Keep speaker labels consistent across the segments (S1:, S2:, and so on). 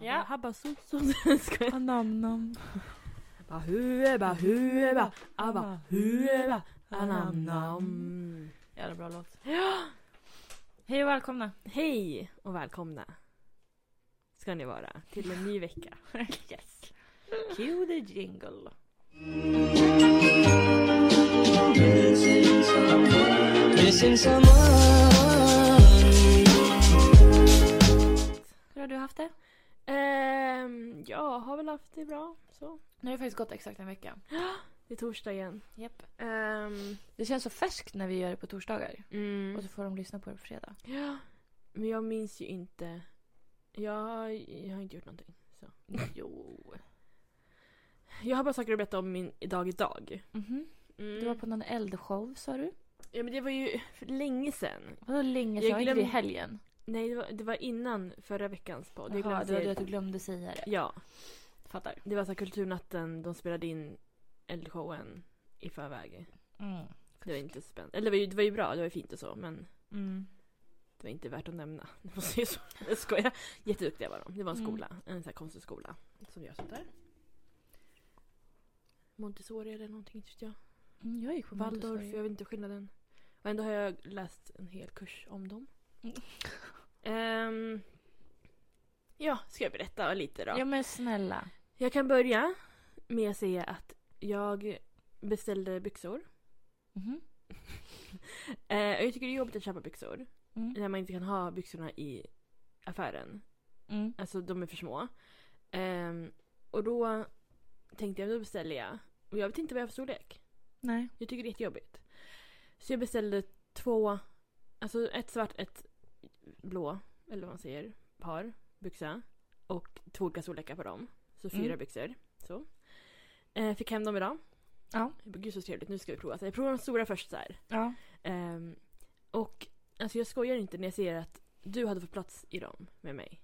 S1: Ja.
S2: Han bara så, så. Ska jag-
S1: Anam, nam.
S2: Ba hue, ba hue, ba, abba hue, ba, anam nam. Jävla bra låt.
S1: Hej och välkomna.
S2: Hej och välkomna. Ska ni vara till en ny vecka.
S1: yes. Cue the jingle.
S3: Missing someone.
S1: Hur har du haft det?
S2: Ehm, jag har väl haft det bra så.
S1: Nu har det faktiskt gått exakt en vecka.
S2: Det är torsdag igen.
S1: Japp.
S2: Ehm,
S1: Det känns så färskt när vi gör det på torsdagar. Och
S2: mm.
S1: så får de lyssna på det på fredag.
S2: Ja, men jag minns ju inte. Jag, jag har inte gjort någonting. Så.
S1: Mm. Jo.
S2: Jag har bara saker att berätta om min dag idag.
S1: Mhm.
S2: Mm.
S1: Du var på någon eldshow sa du?
S2: Ja men det var ju för länge sedan.
S1: Vadå länge sedan?
S2: Jag
S1: Var inte det i
S2: glöm-
S1: helgen?
S2: Nej det var, det var innan förra veckans podd.
S1: Jaha,
S2: Jag glömde
S1: det var
S2: säga
S1: det att du glömde säga det.
S2: Ja,
S1: Fattar.
S2: det var så här kulturnatten, de spelade in eldshowen i förväg.
S1: Mm.
S2: Det var inte spännande. Eller det var, ju, det var ju bra, det var ju fint och så men
S1: Mm.
S2: det var inte värt att nämna. Det var så, jag skojar. Jätteduktiga var de. Det var en
S1: Mm.
S2: skola, en så här konstskola som gör sånt där. Montessori eller någonting, inte vet jag.
S1: Mm, jag gick på
S2: Waldorf,
S1: Montessori.
S2: jag vet inte skillnaden. Och ändå har jag läst en hel kurs om dem.
S1: Mm.
S2: Ehm, ja, ska jag berätta lite då?
S1: Ja men snälla.
S2: Jag kan börja med att säga att jag beställde byxor.
S1: Mhm.
S2: Eh, och jag tycker det är jobbigt att köpa byxor
S1: Mm.
S2: när man inte kan ha byxorna i affären.
S1: Mm.
S2: Alltså de är för små. Ehm, och då tänkte jag, då beställer jag. Och jag vet inte vad jag har för storlek.
S1: Nej.
S2: Jag tycker det är jättejobbigt. Så jag beställde två, alltså ett svart, ett blå, eller vad man säger, par byxa. Och två olika storlekar på dem. Så fyra
S1: Mm.
S2: byxor. Så. Eh, fick hem dem idag.
S1: Ja.
S2: Jag bara, Gud så trevligt, nu ska vi prova. Så jag provar de stora först så här.
S1: Ja.
S2: Ehm, och alltså jag skojar inte när jag säger att du hade fått plats i dem med mig.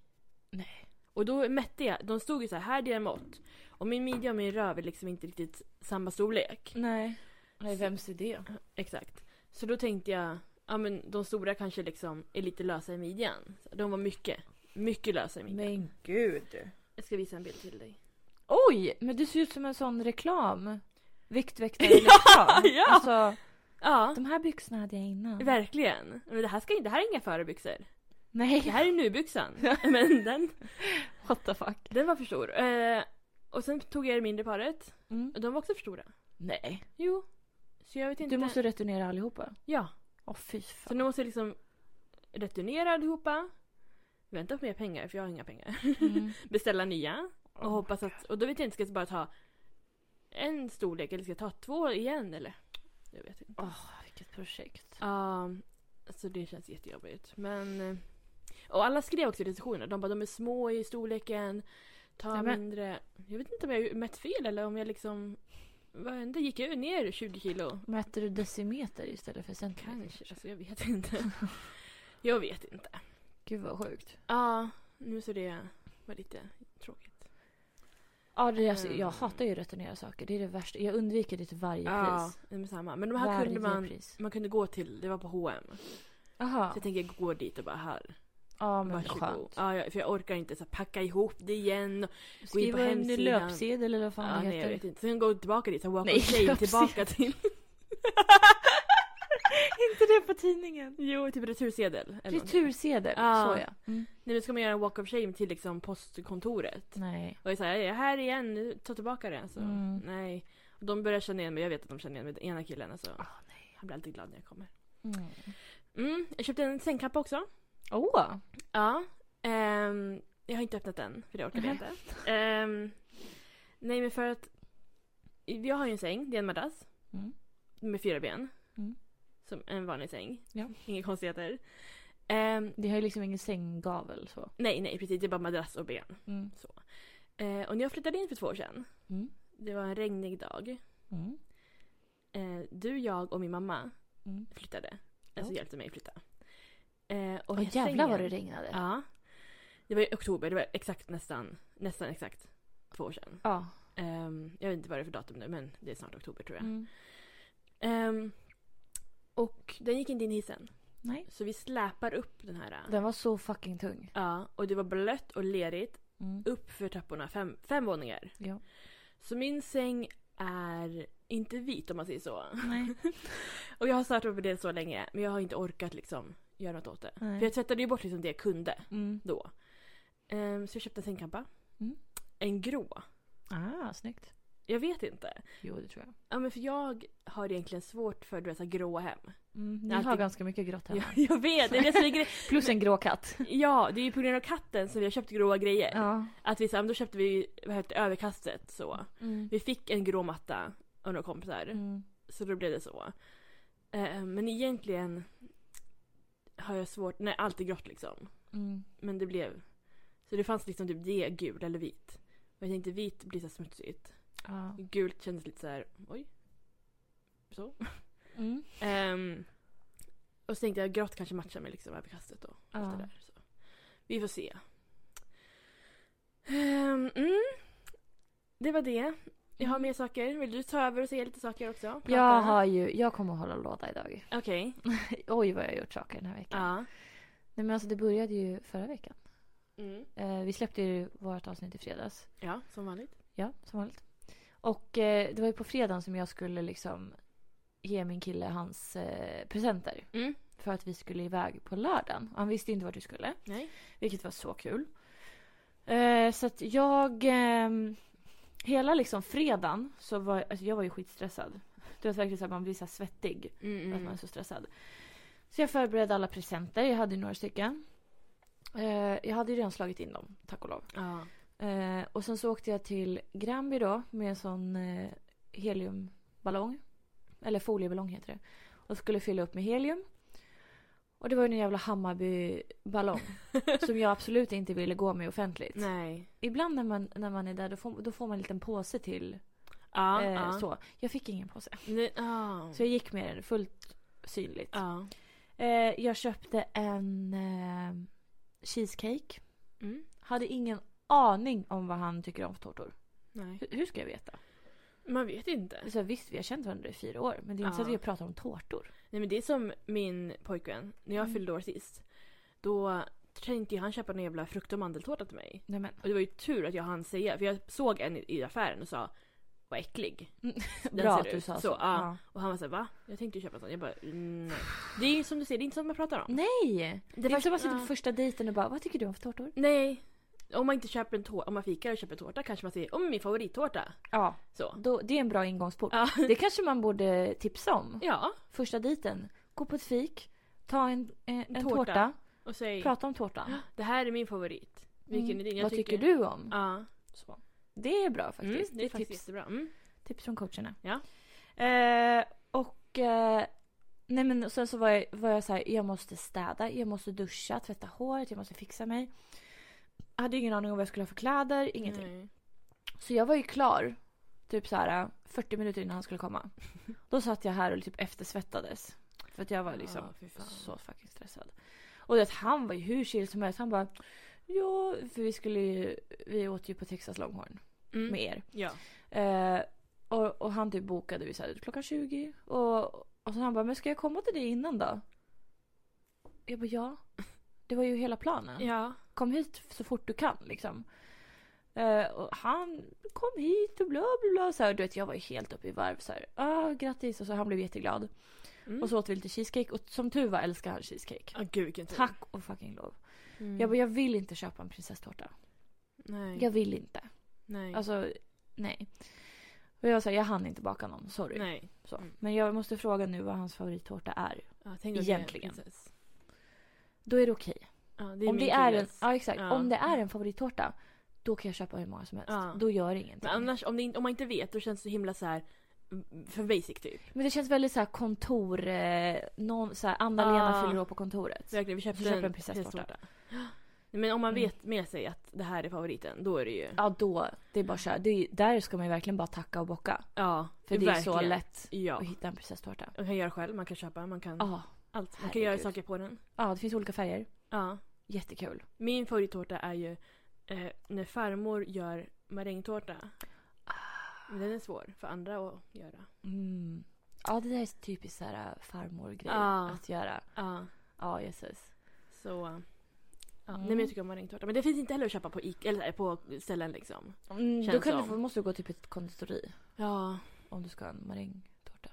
S1: Nej.
S2: Och då mätte jag, de stod ju så här, här är dina mått. Och min midja och min röv är liksom inte riktigt samma storlek.
S1: Nej. Nej,
S2: Så-
S1: vems är det?
S2: Exakt. Så då tänkte jag, ja men de stora kanske liksom är lite lösa i midjan. De var mycket, mycket lösa i midjan.
S1: Men gud.
S2: Jag ska visa en bild till dig.
S1: Oj, men du ser ut som en sån reklam. Viktväktare-reklam.
S2: Ja, ja.
S1: Alltså,
S2: Ja,
S1: de här byxorna hade jag innan.
S2: verkligen. Men det här, ska, det här är inga förebyxor. Det
S1: Nej.
S2: här är nu-byxan. men den,
S1: What the fuck.
S2: den var för stor. Eh, och sen tog jag det mindre paret.
S1: Mm.
S2: Och de var också för stora.
S1: Nej.
S2: Jo. Så jag vet inte.
S1: Du måste returnera allihopa.
S2: Ja.
S1: Åh fy
S2: Så
S1: fan.
S2: nu måste jag liksom returnera allihopa. Vänta på mer pengar för jag har inga pengar.
S1: Mm.
S2: Beställa nya. Och
S1: Oh
S2: hoppas att, och då vet jag inte, ska jag bara ta en storlek eller ska jag ta två igen eller? Jag vet inte.
S1: Åh, vilket projekt.
S2: Ja, så det känns jättejobbigt. Men... eh, Och alla skrev också i recensionerna, de bara de är små i storleken, ta
S1: Ja, men-
S2: mindre. Jag vet inte om jag mätt fel eller om jag liksom... Vad hände? Gick jag ner 20 kilo?
S1: Mäter du decimeter istället för centimeter?
S2: Kanske, alltså jag vet inte. jag vet inte. Ja,
S1: Gud vad sjukt.
S2: nu så det var lite tråkigt.
S1: Ja, det är alltså,
S2: Mm.
S1: jag hatar ju att returnera saker. Det är det värsta. Jag undviker det till varje pris.
S2: det är samma. Men de här
S1: varje
S2: kunde man...
S1: pris.
S2: Man kunde gå till, det var på H&M
S1: Aha.
S2: Så jag tänker gå dit och bara här.
S1: Ja, men
S2: Varsågod.
S1: skönt.
S2: Ja, jag- för jag orkar inte så här, packa ihop det igen.
S1: Skriva
S2: på
S1: en
S2: hemsidan.
S1: löpsedel eller vad fan
S2: ja,
S1: det
S2: nej, jag
S1: heter.
S2: vet inte. Sen gå tillbaka dit, så walk
S1: Nej,
S2: of shame
S1: jag ser.
S2: tillbaka till.
S1: inte det på tidningen.
S2: Jo, typ retursedel. eller någonting.
S1: Retursedel,
S2: Ja.
S1: sa jag. Mm.
S2: Nej men ska man göra en walk of shame till liksom postkontoret.
S1: Nej.
S2: Och jag säger jag är här igen, nu, ta tillbaka det. Alltså.
S1: Mm.
S2: Nej. Och de börjar känna igen mig, jag vet att de känner igen mig. Den ena killen alltså.
S1: Ah, nej.
S2: Han blir alltid glad när jag kommer.
S1: Mm.
S2: Mm, jag köpte en sängkappa också.
S1: Åh!
S2: Ja. Ehm, jag har inte öppnat den, för det orkar jag
S1: Nej.
S2: inte. Ehm, nej, men för att... Jag har ju en säng, det är en madrass.
S1: Mm.
S2: Med fyra ben.
S1: Mm.
S2: Som en vanlig säng.
S1: Ja.
S2: Inga konstigheter. Ehm,
S1: Det har ju liksom ingen sänggavel så.
S2: nej, nej, precis. Det är bara madrass och ben.
S1: Mm.
S2: Eh, och när jag flyttade in för två år sedan,
S1: Mm.
S2: det var en regnig dag.
S1: Mm.
S2: Eh, du, jag och min mamma
S1: Mm.
S2: flyttade. Alltså
S1: Ja.
S2: hjälpte mig flytta. Eh, och
S1: Och jävlar
S2: sängen-
S1: vad det regnade.
S2: Ja. Det var i oktober, det var exakt nästan, nästan exakt två år sedan.
S1: Ja.
S2: Ehm, jag vet inte vad det är för datum nu men det är snart oktober tror jag.
S1: Mm.
S2: Ehm, och den gick inte in i hissen.
S1: Nej.
S2: Så vi släpar upp den här.
S1: Den var så fucking tung.
S2: Ja, och det var blött och lerigt.
S1: Mm.
S2: upp för trapporna, fem, fem våningar.
S1: Ja.
S2: Så min säng är inte vit om man säger så.
S1: Nej.
S2: Och jag har stört mig på det så länge men jag har inte orkat liksom göra något åt det.
S1: Nej.
S2: För jag tvättade ju bort liksom det jag kunde
S1: Mm.
S2: då. Ehm, så jag köpte en sängkampa.
S1: Mm.
S2: En grå.
S1: Ah, snyggt.
S2: Jag vet inte.
S1: Jo, det tror jag.
S2: Ja men för jag har egentligen svårt för du vet, så här gråa hem.
S1: Mm, ni
S2: Nej,
S1: har
S2: det-
S1: ganska mycket grått hemma.
S2: Jag, jag vet, det är det som är grej.
S1: Plus en grå katt.
S2: Ja, det är ju på grund av katten som vi har köpt gråa grejer.
S1: Ja.
S2: Att vi, så här, men då köpte vi vad heter, det, överkastet så. Vi fick en grå matta av några kompisar.
S1: Mm.
S2: Så då blev det så. Eh, men egentligen har jag svårt, nej allt är grått liksom.
S1: Mm.
S2: Men det blev, så det fanns liksom typ det, gul eller vit. Men jag tänkte vit blir så här smutsigt.
S1: Ja.
S2: Gult kändes lite så här, oj. Så.
S1: Mm.
S2: Ehm, och så tänkte jag grått kanske matchar med liksom överkastet då.
S1: Ja.
S2: Allt det där, så. Vi får se. Ehm, mm. Det var det. Jag har
S1: Mm.
S2: mer saker. Vill du ta över och säga lite saker också? Prata.
S1: Jag har Mm. ju, jag kommer att hålla låda idag.
S2: Okej.
S1: Oj vad jag har gjort saker den här veckan.
S2: Ja.
S1: Nej men alltså det började ju förra veckan.
S2: Mm.
S1: Eh, vi släppte ju vårt avsnitt i fredags.
S2: Ja, som vanligt.
S1: Ja, som vanligt. Och eh, det var ju på fredagen som jag skulle liksom ge min kille hans eh, presenter.
S2: Mm.
S1: För att vi skulle iväg på lördagen. Och han visste inte vart vi skulle.
S2: Nej.
S1: Vilket var så kul. Eh, så att jag... ehm, hela liksom fredagen så var alltså jag var ju skitstressad. Du vet verkligen så här, man blir så här svettig
S2: Mm,
S1: för
S2: mm.
S1: att man är så stressad. Så jag förberedde alla presenter. Jag hade ju några stycken. Eh, jag hade ju redan slagit in dem, tack och lov.
S2: Ja.
S1: Eh, och sen så åkte jag till Granby då med en sån eh, heliumballong. Eller folieballong heter det. Och skulle fylla upp med helium. Och det var ju en jävla Hammarby-ballong. som jag absolut inte ville gå med offentligt.
S2: Nej.
S1: Ibland när man, när man är där då får, då får man en liten påse till.
S2: Ja.
S1: eh,
S2: ja. ah.
S1: Så. Jag fick ingen påse.
S2: Nej, ja.
S1: Så jag gick med den fullt synligt.
S2: Ja.
S1: Eh, jag köpte en eh, cheesecake.
S2: Mm.
S1: Hade ingen aning om vad han tycker om för tårtor.
S2: Nej.
S1: Hur, hur ska jag veta?
S2: Man vet inte.
S1: Så här, Alltså, visst, vi har känt varandra i fyra år, men det är inte så
S2: Ja.
S1: att vi pratar om tårtor.
S2: Nej men det är som min pojkvän, när jag
S1: Mm.
S2: fyllde år sist. Då tänkte ju han köpa en jävla frukt och mandeltårta till mig.
S1: Nej, men,
S2: Och det var ju tur att jag hann säga, för jag såg en i- i affären och sa Vad äcklig. Den
S1: Mm. bra
S2: ser
S1: att du
S2: ut
S1: sa så.
S2: så, ja.
S1: Ja.
S2: Och han var såhär va? Jag tänkte ju köpa en sån. Jag bara "Mm, nej. Det är ju som du säger, det är inte sånt man pratar om.
S1: Nej! Det, är inte
S2: var-
S1: som att sitta
S2: ja.
S1: på första dejten och bara, vad tycker du om för tårtor?
S2: Nej. Om man inte köper en tårta, om man fikar och köper en tårta kanske man säger om min favorittårta.
S1: Ja,
S2: Så.
S1: då, det är en bra ingångsport.
S2: Ja.
S1: Det kanske man borde tipsa om.
S2: ja.
S1: Första dejten, gå på ett fik, ta en, eh, en
S2: Tårta.
S1: tårta,
S2: Och säg
S1: prata om tårtan. Mm.
S2: det här är min favorit. Vilken är din? Jag
S1: Vad tycker du om?
S2: Ja.
S1: Så. Det är bra faktiskt.
S2: Mm, det är
S1: tips.
S2: faktiskt jättebra. Mm.
S1: Tips från coacherna.
S2: Ja.
S1: Eh, och... Eh, nej men och sen så var jag, var jag så här, jag måste städa, jag måste duscha, tvätta håret, jag måste fixa mig. Jag hade ingen aning om vad jag skulle ha för kläder, ingenting.
S2: Nej.
S1: Så jag var ju klar typ så här 40 minuter innan han skulle komma. Då satt jag här och typ eftersvettades. För att jag var liksom
S2: Ja, fy Ah, fan.
S1: så fucking stressad. Och det, han var ju hur chill som helst. Han bara ja, för vi skulle ju, vi åt ju på Texas Longhorn
S2: Mm.
S1: med er.
S2: Ja.
S1: Eh, och, och han typ bokade vi så här, klockan 20. Och, och så han bara, men ska jag komma till dig innan då? Jag bara, ja. Det var ju hela planen.
S2: Ja.
S1: Kom hit så fort du kan liksom. Eh, och han kom hit och bla bla bla. Så här, du vet, jag var ju helt uppe i varv. Så här, ah, grattis. Och så han blev jätteglad.
S2: Mm.
S1: Och så åt vi lite cheesecake. Och som tur var älskar han cheesecake.
S2: Ah, gud vilken tur.
S1: Tack och fucking lov.
S2: Mm.
S1: Jag bara, jag vill inte köpa en prinsesstårta.
S2: Nej.
S1: Jag vill inte.
S2: Nej.
S1: Alltså, nej. Och jag sa, jag hann inte baka någon. Sorry.
S2: Nej.
S1: Så.
S2: Mm.
S1: Men jag måste fråga nu vad hans favorittårta är.
S2: Ja, tänk om
S1: Egentligen.
S2: Det är en prinsess.
S1: Då är det okej.
S2: ja, det är
S1: Om,
S2: min
S1: det är en-
S2: killes.
S1: ja, exakt.
S2: Ja.
S1: om det är en favorittårta, då kan jag köpa hur många som helst.
S2: Ja.
S1: Då gör det ingenting.
S2: Men annars, om, det, in- om man inte vet, då känns det så himla så här mm, för basic typ.
S1: Men det känns väldigt så här kontor... Eh, någon, så här, Anna-Lena
S2: Ja.
S1: fyller år på kontoret.
S2: Verkligen, vi köpte
S1: Så köper
S2: en,
S1: en prinsesstårta.
S2: prinsesstårta. Nej, Men om man
S1: Mm.
S2: vet med sig att det här är favoriten, då är det ju...
S1: Ja, då. Det är bara att köra. Det är, där ska man ju verkligen bara tacka och bocka.
S2: Ja,
S1: För det är så
S2: verkligen.
S1: lätt
S2: Ja. Mm.
S1: att hitta en prinsesstårta.
S2: Man kan göra själv, man kan köpa, man kan...
S1: Ja,
S2: allt. Man kan
S1: herregud.
S2: göra saker på den.
S1: Ja, det finns olika färger.
S2: Ja.
S1: Jättekul.
S2: Min favorittårta är ju eh, när farmor gör marängtårta. Men den är svår för andra att göra.
S1: Mm. Ja, det där är typiskt så här farmor-grej
S2: Ja.
S1: att göra.
S2: Ja.
S1: Ja, jösses.
S2: Så...
S1: Mm.
S2: Ja. Nej men jag tycker om marängtårta. Men det finns inte heller att köpa på, Ica- eller, eh, på ställen liksom.
S1: Mm, då
S2: Känns
S1: kan du,
S2: som.
S1: få- måste du gå till ett konditori
S2: Ja.
S1: om du ska ha en marängtårta.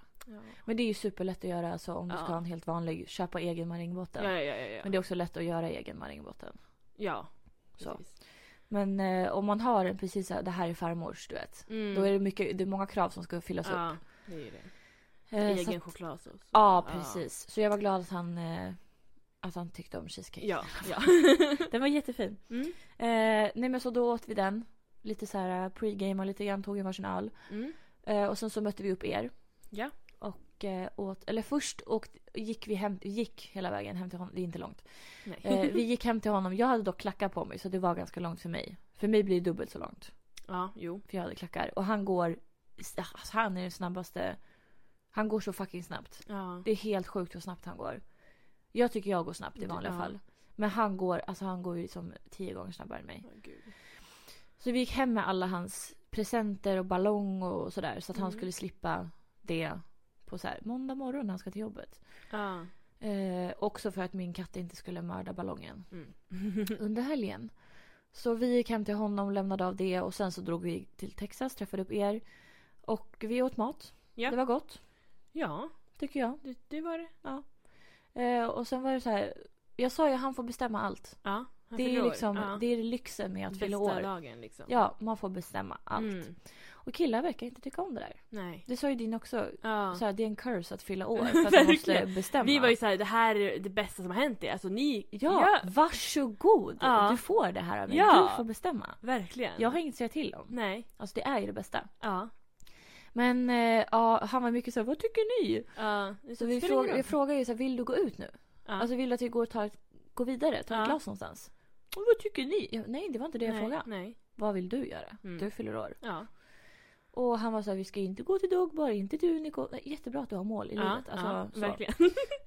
S1: Men det är ju superlätt att göra alltså, om du
S2: Ja.
S1: ska ha en helt vanlig, köpa egen marängbotten.
S2: Ja, ja, ja. ja,
S1: Men
S2: ja.
S1: det är också lätt att göra egen marängbotten.
S2: ja.
S1: Så.
S2: precis.
S1: Men eh, om man har en precis så här, det här är farmors, du vet.
S2: Mm.
S1: Då är det, mycket, det är många krav som ska fyllas upp.
S2: Ja, det är ju det.
S1: Eh, så
S2: Egen
S1: att-
S2: chokladsås.
S1: Ja, precis. Så jag var glad att han, eh, att han tyckte om cheesecake.
S2: Ja, ja.
S1: Den var jättefin.
S2: Mm.
S1: Eh, nej men så då åt vi den. Lite så här eh, pre-game lite grann, tog en varsin öl.
S2: Mm.
S1: Eh, och sen så mötte vi upp er.
S2: Ja.
S1: Och eh, åt, eller först åkt, gick vi hem, gick hela vägen hem till honom, det är inte långt.
S2: Nej.
S1: Eh, vi gick hem till honom, jag hade dock klackar på mig så det var ganska långt för mig. För mig blir det dubbelt så långt.
S2: Ja, jo.
S1: För jag hade klackar. Och han går, alltså, han är den snabbaste, han går så fucking snabbt.
S2: Ja.
S1: Det är helt sjukt hur snabbt han går. Jag tycker jag går snabbt i vanliga
S2: Ja.
S1: fall. Men han går, alltså han går ju som tio gånger snabbare än mig.
S2: Åh, gud.
S1: Så vi gick hem med alla hans presenter och ballong och sådär. Så att han
S2: Mm.
S1: skulle slippa det på så här, måndag morgon när han ska till jobbet.
S2: Ja.
S1: Eh, också för att min katt inte skulle mörda ballongen
S2: Mm.
S1: under helgen. Så vi gick hem till honom, lämnade av det och sen så drog vi till Texas, träffade upp er. Och vi åt mat.
S2: Ja.
S1: Det var gott,
S2: Ja,
S1: tycker jag.
S2: det, det var det.
S1: Eh, och sen var det så här, jag sa ju han får bestämma allt.
S2: Ja. han
S1: Det är,
S2: fyller
S1: ju
S2: år.
S1: liksom,
S2: ja.
S1: det är lyxen med att fylla
S2: Bästa
S1: år.
S2: dagen liksom.
S1: Ja, man får bestämma allt.
S2: Mm.
S1: Och killar verkar inte tycka om det där.
S2: Nej.
S1: Det sa ju din också.
S2: Ja.
S1: Så här, det är en curse att fylla år för att man måste
S2: Verkligen.
S1: bestämma.
S2: Vi var ju såhär, det här är det bästa som har hänt er. Alltså ni...
S1: ja, varsågod!
S2: Ja.
S1: Du får det här av mig.
S2: Ja.
S1: Du får bestämma.
S2: Verkligen.
S1: Jag har inget att säga till om.
S2: Nej.
S1: Alltså det är ju det bästa.
S2: Ja.
S1: Men eh, ja, han var mycket så här, vad tycker ni?
S2: Ja.
S1: Så vi fråga, jag frågade ju så här, vill du gå ut nu?
S2: Ja.
S1: Alltså vill du att vi går, och tar ett, går vidare, tar
S2: Ja.
S1: ett glas någonstans? "Och Vad tycker ni? Ja, nej, det var inte det jag
S2: nej,
S1: frågade.
S2: Nej.
S1: Vad vill du göra?
S2: Mm.
S1: Du fyller år.
S2: Ja.
S1: Och han var så här, vi ska inte gå till Dogbar, inte till Unico. Nej, Jättebra att du har mål i
S2: Ja.
S1: livet.
S2: ja.
S1: Alltså, så.
S2: Verkligen.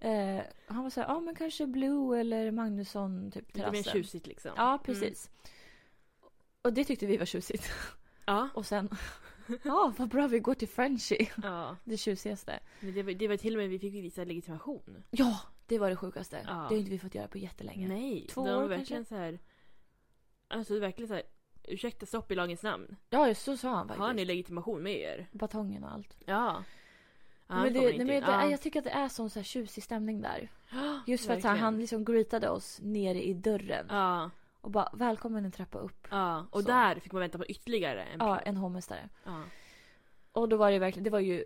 S1: Eh, han var så här, ja men kanske Blue eller Magnusson, typ
S2: Lite mer
S1: terrassen.
S2: tjusigt liksom.
S1: Ja, precis. Och det tyckte vi var tjusigt.
S2: Ja.
S1: Och sen, ja vad bra vi går till Frenchie.
S2: ja.
S1: Det tjusigaste.
S2: Men det, var, det var till och med vi fick visa legitimation.
S1: Ja, det var det sjukaste.
S2: Ja.
S1: Det har inte vi fått göra på jättelänge.
S2: Nej.
S1: Två
S2: de
S1: år
S2: var verkligen så här. Alltså verkligen så här. Ursäkta, stopp i lagens namn.
S1: Ja, just så sa han faktiskt.
S2: Har ni legitimation med er?
S1: Batongen och allt.
S2: Ja. ja
S1: men det,
S2: kommer
S1: nej,
S2: inte
S1: men det,
S2: in. ja.
S1: Jag tycker att det är sån så här tjusig stämning där. Just för att så här,
S2: Verkligen.
S1: han liksom greetade oss nere i dörren.
S2: Ja.
S1: Och bara välkommen en trappa upp.
S2: Ja. Och
S1: Så.
S2: där fick man vänta på ytterligare en
S1: Ja,
S2: person.
S1: en hovmästare.
S2: Ja.
S1: Och då var det verkligen, det var ju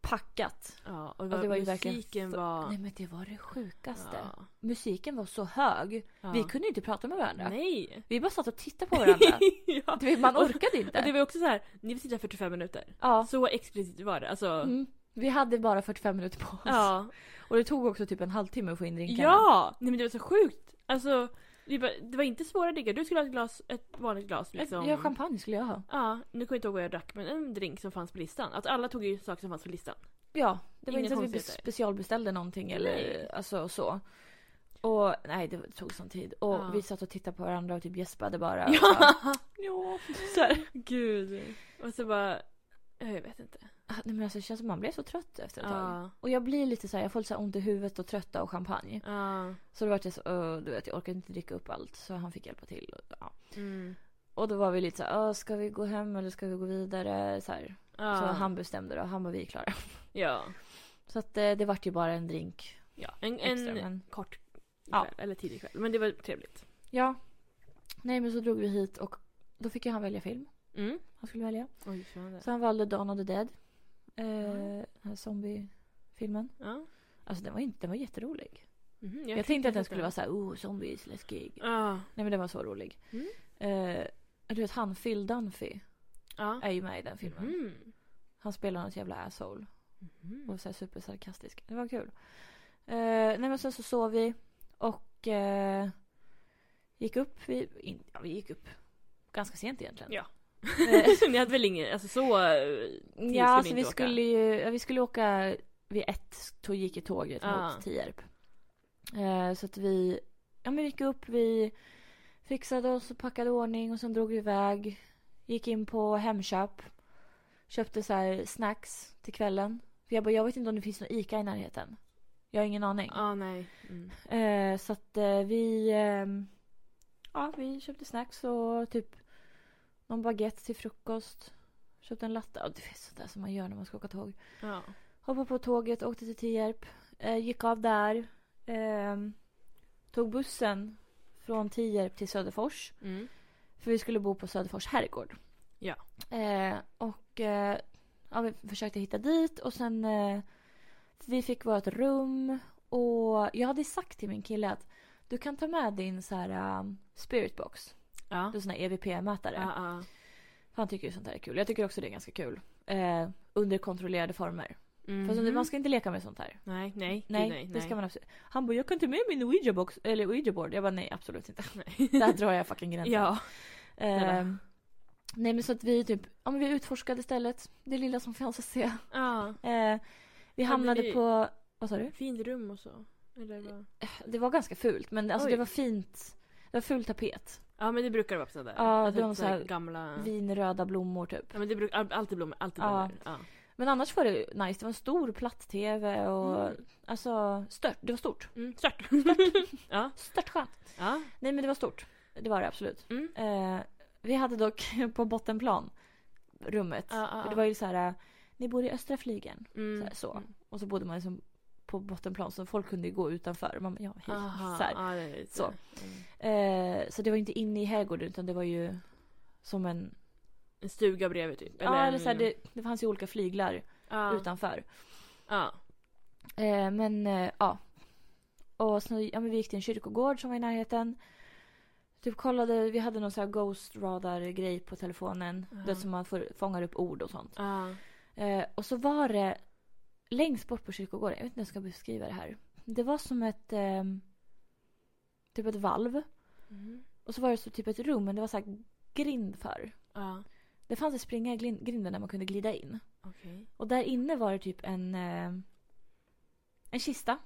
S1: packat.
S2: Ja, och
S1: Ja, det var ju verkligen
S2: musiken
S1: fu-
S2: var...
S1: Nej men det var det sjukaste.
S2: ja,
S1: Musiken var så hög.
S2: ja.
S1: Vi kunde inte prata med varandra.
S2: Nej!
S1: Vi bara satt och tittade på varandra.
S2: ja.
S1: Du vet, Man orkade inte.
S2: Och det var ju också så här, ni vill sitta 45 minuter.
S1: Ja.
S2: Så explicit var det. Alltså,
S1: Mm. Vi hade bara 45 minuter på oss.
S2: ja.
S1: Och det tog också typ en halvtimme att få in drinkarna.
S2: ja! Nej men det var så sjukt. Alltså, vi bara, det var inte svåra drinkar. Du skulle ha ett glas, ett vanligt glas
S1: Ett-
S2: liksom.
S1: Ja, champagne skulle jag ha.
S2: Ja, nu kommer jag inte ihåg vad jag drack men en drink som fanns på listan. Alltså alla tog ju saker som fanns på listan.
S1: Ja, det var
S2: Inga
S1: inte så att vi
S2: konstigheter.
S1: specialbeställde någonting eller
S2: Nej.
S1: alltså så. Och nej, det tog sån tid. Och
S2: Ja.
S1: vi satt och tittade på varandra och typ gäspade bara.
S2: Ja.
S1: ja. Så här.
S2: Gud. Och så bara, ja, jag vet inte.
S1: Ah, Nej men alltså det känns som man blev så trött efter ett tag.
S2: Ja.
S1: Och jag blir lite så här, jag får lite så här ont i huvudet och trötta och champagne.
S2: Ja.
S1: Så då vart jag så, "Åh, du vet jag orkar inte dricka upp allt så han fick hjälpa till. Och, ja.
S2: Mm.
S1: och då var vi lite så här, "Åh, ska vi gå hem eller ska vi gå vidare? Så, här.
S2: Ja.
S1: så han bestämde då, han var vi är klara.
S2: ja.
S1: Så att eh, det vart ju bara en drink
S2: ja. En,
S1: extra.
S2: en,
S1: Men,
S2: kort
S1: Ja.
S2: kväll, eller tidig kväll. Men det var trevligt.
S1: ja. Nej men så drog vi hit och då fick ju han välja film.
S2: Mm.
S1: Han skulle välja.
S2: Oj, spännande.
S1: Så han valde Dawn of the Dead. Eh,
S2: Mm.
S1: Den här zombiefilmen.
S2: Ja.
S1: Alltså den var, inte, den var jätterolig.
S2: Mhm,
S1: Jag, tänkte att den skulle vara så här, oh zombies, läskig.
S2: Ja.
S1: Nej men den var så rolig.
S2: Mm.
S1: Eh, du vet han Phil Dunphy
S2: Ja.
S1: är ju med i den Äh, filmen.
S2: Mm.
S1: Han spelar något jävla asshole.
S2: Mhm.
S1: Och så här supersarkastisk. Det var kul. Eh, nej men sen så sov vi och eh, gick upp. Vi, in, ja, vi gick upp ganska sent egentligen.
S2: Ja.
S1: Eh,
S2: Ni hade väl ingen, alltså så... eh, vi
S1: ja alltså
S2: inte
S1: vi
S2: åka.
S1: skulle ju, ja, vi skulle åka vid ett, tog, gick i tåget
S2: Ah.
S1: mot Tierp. Eh, så att vi, ja men vi gick upp, vi fixade oss och packade ordning och sen drog vi iväg. Gick in på Hemköp. Köpte så här snacks till kvällen. För jag bara, jag vet inte om det finns någon ICA i närheten. Jag har ingen aning.
S2: Ja, nej. Mm.
S1: Eh, så att eh, vi... ehm, ja, vi köpte snacks och typ någon baguette till frukost. Köpte en latte. Ja, det är sånt där som man gör när man ska åka tåg.
S2: Ja.
S1: Hoppade på tåget, åkte till Tierp. Eh, gick av där. ehm, tog bussen från Tierp till Söderfors.
S2: Mm.
S1: För vi skulle bo på Söderfors herrgård.
S2: Ja.
S1: Eh, och eh, ja, vi försökte hitta dit och sen eh, vi fick vårt rum och jag hade sagt till min kille att du kan ta med din så här um, spiritbox.
S2: Ja.
S1: Du är sån här E EVP-mätare.
S2: Ja, ja.
S1: Han tycker ju sånt här är kul. Jag tycker också det är ganska kul. Eh, under kontrollerade former.
S2: Mm.
S1: Fast man ska inte leka med sånt här.
S2: Nej, nej, gud,
S1: Nej, det ska man absolut Han bara, jag kan ta med min ouija-box, eller ouija-board. Jag bara, nej absolut inte. Där drar jag fucking gränsen.
S2: Ja.
S1: Ehm, nej men så att vi typ, ja men vi utforskade stället. Det lilla som fanns att se.
S2: ja.
S1: Eh, vi
S2: Ja,
S1: hamnade
S2: men det-
S1: på, vad sa du?
S2: Fint rum och så. Eller vad?
S1: Det var ganska fult men alltså
S2: Oj.
S1: det var fint. Det var ful tapet.
S2: Ja, men det brukar det vara på sådär.
S1: Ja,
S2: Alltså,
S1: de
S2: så här
S1: så här-
S2: gamla...
S1: Vinröda blommor typ.
S2: Ja, men det brukar... Alltid blommor, alltid
S1: Ja.
S2: blommor. Ja.
S1: Men annars var det nice. Det var en stor platt-tv och
S2: Mm.
S1: alltså stört. Det var stort.
S2: Mm. Stört! ja.
S1: Stört skönt.
S2: ja.
S1: Nej men det var stort. Det var det absolut.
S2: Mm.
S1: Eh, vi hade dock på bottenplan rummet.
S2: Ja, ja,
S1: För Det
S2: ja.
S1: var ju så här, eh, ni bor i östra flygeln.
S2: Mm.
S1: Så, här, så.
S2: Mm.
S1: Och så bodde man liksom på bottenplan så folk kunde ju gå utanför. Man, bara, ja, hej.
S2: Aha,
S1: Så, här.
S2: ja, det är lite-
S1: Så.
S2: Mm.
S1: Eh, så det var inte inne i herrgården utan det var ju som en...
S2: En stuga bredvid typ.
S1: ja, eller
S2: en-
S1: så här, det, det fanns ju olika flyglar
S2: ja.
S1: utanför.
S2: Ja.
S1: Eh, men eh, ja. Och så, ja, men vi gick till en kyrkogård som var i närheten. Typ kollade, vi hade någon så här ghost radar grej på telefonen.
S2: Ja.
S1: Det som man får, fångar upp ord och sånt.
S2: Ja.
S1: Eh, och så var det längst bort på kyrkogården, jag vet inte hur jag ska beskriva det här. Det var som ett ehm, typ ett valv.
S2: Mm.
S1: Och så var det så typ ett rum men det var så här grind för.
S2: Ja.
S1: Det fanns en springa i glin- grinden där man kunde glida in.
S2: Okej.
S1: Och där inne var det typ en, eh, en kista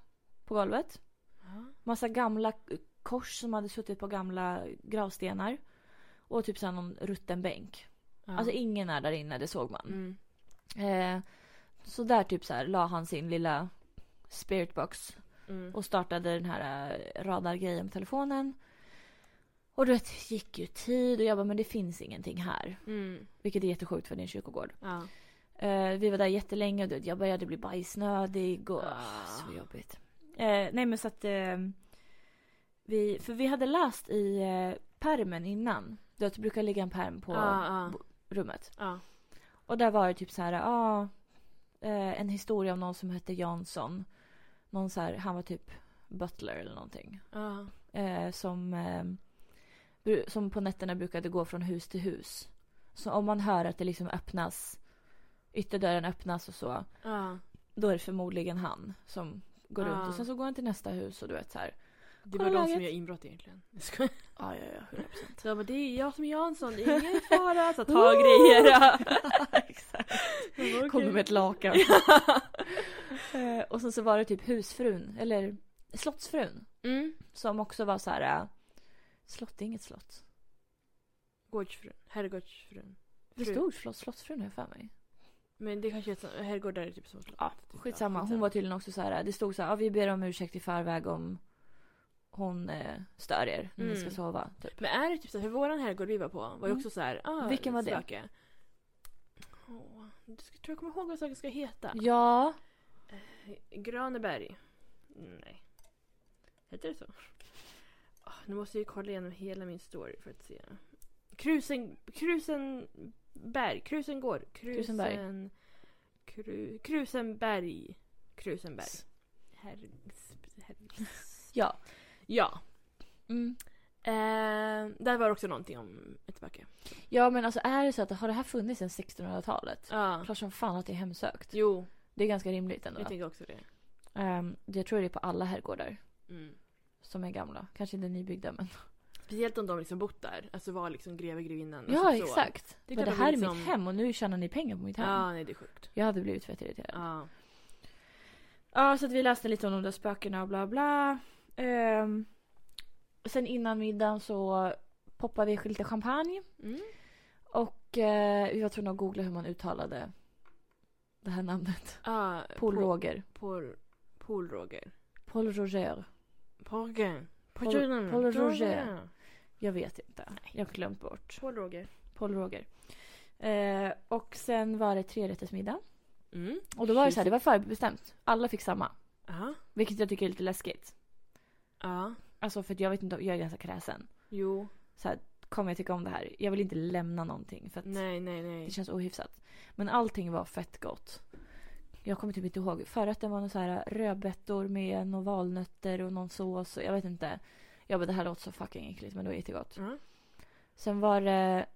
S1: på golvet.
S2: Ja.
S1: Massa gamla k- kors som hade suttit på gamla gravstenar. Och typ så här någon rutten bänk.
S2: Ja.
S1: Alltså ingen är där inne, det såg man.
S2: Mm.
S1: Eh, så där typ så här la han sin lilla spiritbox
S2: Mm.
S1: och startade den här eh, radargrejen på telefonen. Och då gick ju tid och jag bara, men det finns ingenting här.
S2: Mm.
S1: Vilket är jättesjukt för din kyrkogård.
S2: Ja.
S1: Eh, vi var där jättelänge och du vet, jag började bli bajsnödig och
S2: Ah.
S1: så jobbigt. Eh, nej men så att eh, vi, för vi hade läst i eh, permen innan. Du vet, det brukar ligga en perm på
S2: Ja, ja.
S1: rummet.
S2: Ja.
S1: Och där var det typ så här, ja, eh, en historia om någon som hette Jansson. Någon så här, han var typ butler eller någonting.
S2: Ja.
S1: Eh, som, eh, bru- som på nätterna brukade gå från hus till hus. Så om man hör att det liksom öppnas, ytterdörren öppnas och så,
S2: Ja.
S1: då är det förmodligen han som går
S2: Ah.
S1: runt. Och sen så går han till nästa hus och du vet så här.
S2: Det
S1: Kolla
S2: var de
S1: läget.
S2: som gör inbrott egentligen. Jag skojar.
S1: Ah, Ja, ja, ja, 100%.
S2: Så jag bara, det är jag som är Jansson, det är ingen fara. Så ta grejer. Ja.
S1: Exakt.
S2: Jag bara,
S1: Kommer
S2: okej.
S1: med ett lakan. eh, och sen så var det typ husfrun, eller slottsfrun.
S2: Mm.
S1: Som också var så här. äh, Slott är inget slott.
S2: Gårdsfrun. Herrgårdsfrun.
S1: Det
S2: Fru.
S1: stod slott, slottsfrun har jag för mig.
S2: Men det kanske är ett sånt, herrgård där är typ som slott.
S1: Ja,
S2: Typ,
S1: Skitsamma, hon var tydligen också så här. äh, Det stod så här, ja, vi ber om ursäkt i förväg om hon eh, stör er när ni
S2: Mm.
S1: ska sova. Typ.
S2: Men är det typ såhär, för våran herrgård vi var på var ju
S1: Mm.
S2: också såhär, ah,
S1: Vilken var det?
S2: Slöke. Åh, du ska, tror jag kommer ihåg vad saker ska heta.
S1: Ja,
S2: Gröneberg. Nej. Heter det så? Ah, nu måste jag ju kolla igenom hela min story för att se. Krusen, Krusenberg, Krusengård,
S1: Krusenberg.
S2: Krusen, Kru, Krusenberg, Krusenberg.
S1: S-
S2: Herrgs, herrgs.
S1: ja.
S2: Ja.
S1: Mm.
S2: Eh, där var det också någonting om ett backe.
S1: Ja men alltså är det så att har det här funnits sedan 1600-talet?
S2: Ja.
S1: Klart som fan att det är hemsökt.
S2: Jo,
S1: Det är ganska rimligt ändå.
S2: jag tänker också det.
S1: Ehm, jag tror det är på alla herrgårdar
S2: Mm.
S1: som är gamla. Kanske inte nybyggda men.
S2: Speciellt om de liksom bott där. Alltså var liksom greve, grevinnan.
S1: Ja
S2: alltså så.
S1: exakt.
S2: Det är
S1: men
S2: klart
S1: det
S2: att
S1: här är
S2: liksom-
S1: mitt hem och nu tjänar ni pengar på mitt hem.
S2: Ja, nej det är sjukt.
S1: Jag hade blivit fett irriterad.
S2: Ja.
S1: Ja, så att vi läste lite om de där spökena och bla bla. Ehm, sen innan middagen så poppade vi lite champagne.
S2: Mm.
S1: Och eh, vi var tvungna att googla hur man uttalade det här namnet.
S2: Ja,
S1: Paul
S2: Paul-
S1: Roger.
S2: Paul, Paul Roger.
S1: Paul Roger.
S2: Pojken.
S1: Paul- Paul Roger. Jag vet inte. Jag har glömt bort.
S2: Paul Roger.
S1: Paul Roger. Eh, och sen var det trerättersmiddag.
S2: Mm.
S1: Och då var det
S2: Precis.
S1: så här, det var förbestämt. Alla fick samma.
S2: Ja.
S1: Vilket jag tycker är lite läskigt.
S2: Ja.
S1: Alltså för att jag vet inte, jag är ganska kräsen.
S2: Jo.
S1: Så här, kommer jag tycka om det här? Jag vill inte lämna någonting för att
S2: Nej, nej,
S1: det
S2: nej.
S1: känns ohyfsat. Men allting var fett gott. Jag kommer typ inte ihåg. Förrätten var någon så här rödbetor med några valnötter och någon sås. och Jag vet inte. Jag bara det här låter så fucking äckligt men det var jättegott.
S2: Ja.
S1: Sen var det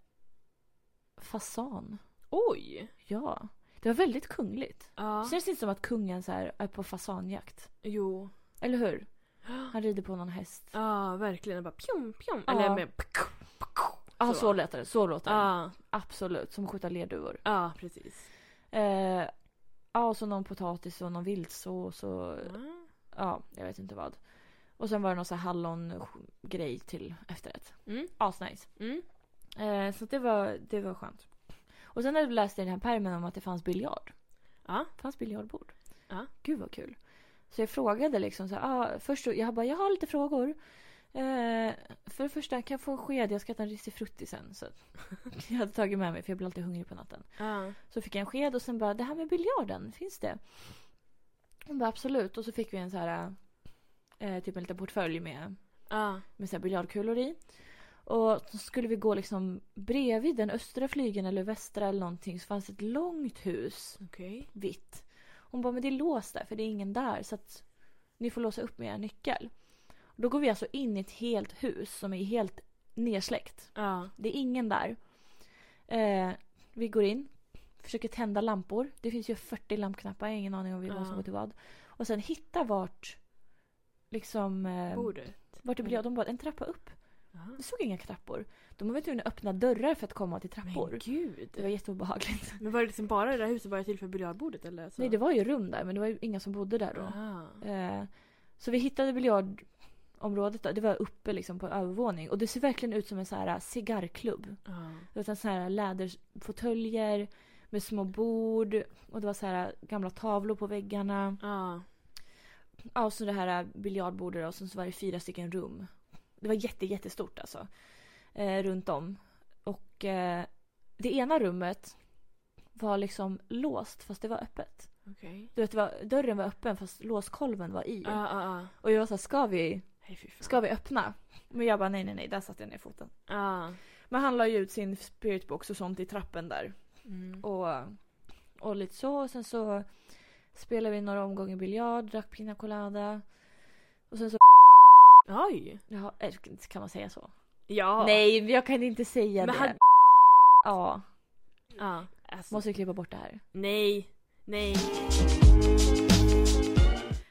S1: fasan.
S2: Oj!
S1: Ja. Det var väldigt kungligt.
S2: Ja.
S1: Känns det inte som att kungen så här är på fasanjakt?
S2: Jo.
S1: Eller hur? Han rider på någon häst. Ja,
S2: Ja, verkligen. Bara pjom, pjom.
S1: Ja.
S2: Eller med...
S1: ah, så lät det. Så låter det.
S2: Ja,
S1: Absolut. Som att skjuta lerduvor.
S2: ja precis.
S1: Eh, ja, och så någon potatis och någon vildsås och
S2: Ja.
S1: ja, jag vet inte vad. Och sen var det någon så här hallongrej till efterrätt.
S2: Mm.
S1: Asnice.
S2: Mm.
S1: Eh, så att det var, det var skönt. Och sen när du läste i den här pärmen om att det fanns biljard.
S2: Ja.
S1: Det fanns biljardbord.
S2: Ja.
S1: Gud vad kul. Så jag frågade liksom så här, ah, först så, jag bara, jag har lite frågor. Eh, för det första, kan jag få en sked? Jag ska äta en risifrutti sen. Så att jag hade tagit med mig för jag blir alltid hungrig på natten.
S2: Ja.
S1: Så fick jag en sked och sen bara, det här med biljarden, finns det? Hon bara, absolut. Och så fick vi en så här, eh, typ en liten portfölj med,
S2: Ja.
S1: med så här biljardkulor i. Och så skulle vi gå liksom bredvid den östra flygeln eller västra eller någonting så fanns ett långt hus,
S2: Okej.
S1: vitt. Hon bara, men det är låst där för det är ingen där så att ni får låsa upp med er nyckel. Och då går vi alltså in i ett helt hus som är helt nersläckt.
S2: Ja.
S1: Det är ingen där. Eh, vi går in, försöker tända lampor. Det finns ju 40 lampknappar, jag har ingen aning om vad som
S2: Ja.
S1: går till vad. Och sen hitta vart, liksom, eh,
S2: Bordet.
S1: vart det blir av.
S2: Mm.
S1: De bara, en trappa upp.
S2: Ja.
S1: Vi såg inga trappor. De var tvungna att öppna dörrar för att komma till trappor.
S2: Men
S1: det var
S2: gud.
S1: jätteobehagligt.
S2: Men var det liksom bara det där huset bara till för biljardbordet eller? Alltså- Så?
S1: Nej, det var ju rum där, men det var ju inga som bodde där då.
S2: Aha.
S1: Eh, så vi hittade biljardområdet då. Det var uppe liksom på en övervåning. Och det ser verkligen ut som en så här cigarrklubb.
S2: Ja.
S1: Utan så här läderfåtöljer med små bord och det var så här gamla tavlor på väggarna.
S2: Ja.
S1: Ja, och så det här biljardbordet och sen så var det fyra stycken rum. Det var jätte, jättestort alltså. Eh, runt om. Och eh, det ena rummet var liksom låst fast det var öppet.
S2: Okej.
S1: Du vet, det var, dörren var öppen fast låskolven var i.
S2: Ja, ja, ja.
S1: Och jag var såhär, ska vi,
S2: Hej fy fan.
S1: ska vi öppna? Men jag bara, nej, nej, nej, där satte jag ner foten.
S2: Ja.
S1: Men han la ju ut sin spiritbox och sånt i trappen där.
S2: Mm.
S1: och, och lite så. Och sen så spelade vi några omgångar biljard, drack pina colada. Och sen så...
S2: Oj.
S1: Jaha, eh, kan man säga så?
S2: Ja.
S1: Nej, jag kan inte säga
S2: Men
S1: det.
S2: han-
S1: Ja,
S2: Ja. Alltså.
S1: måste vi klippa bort det här.
S2: Nej. Nej.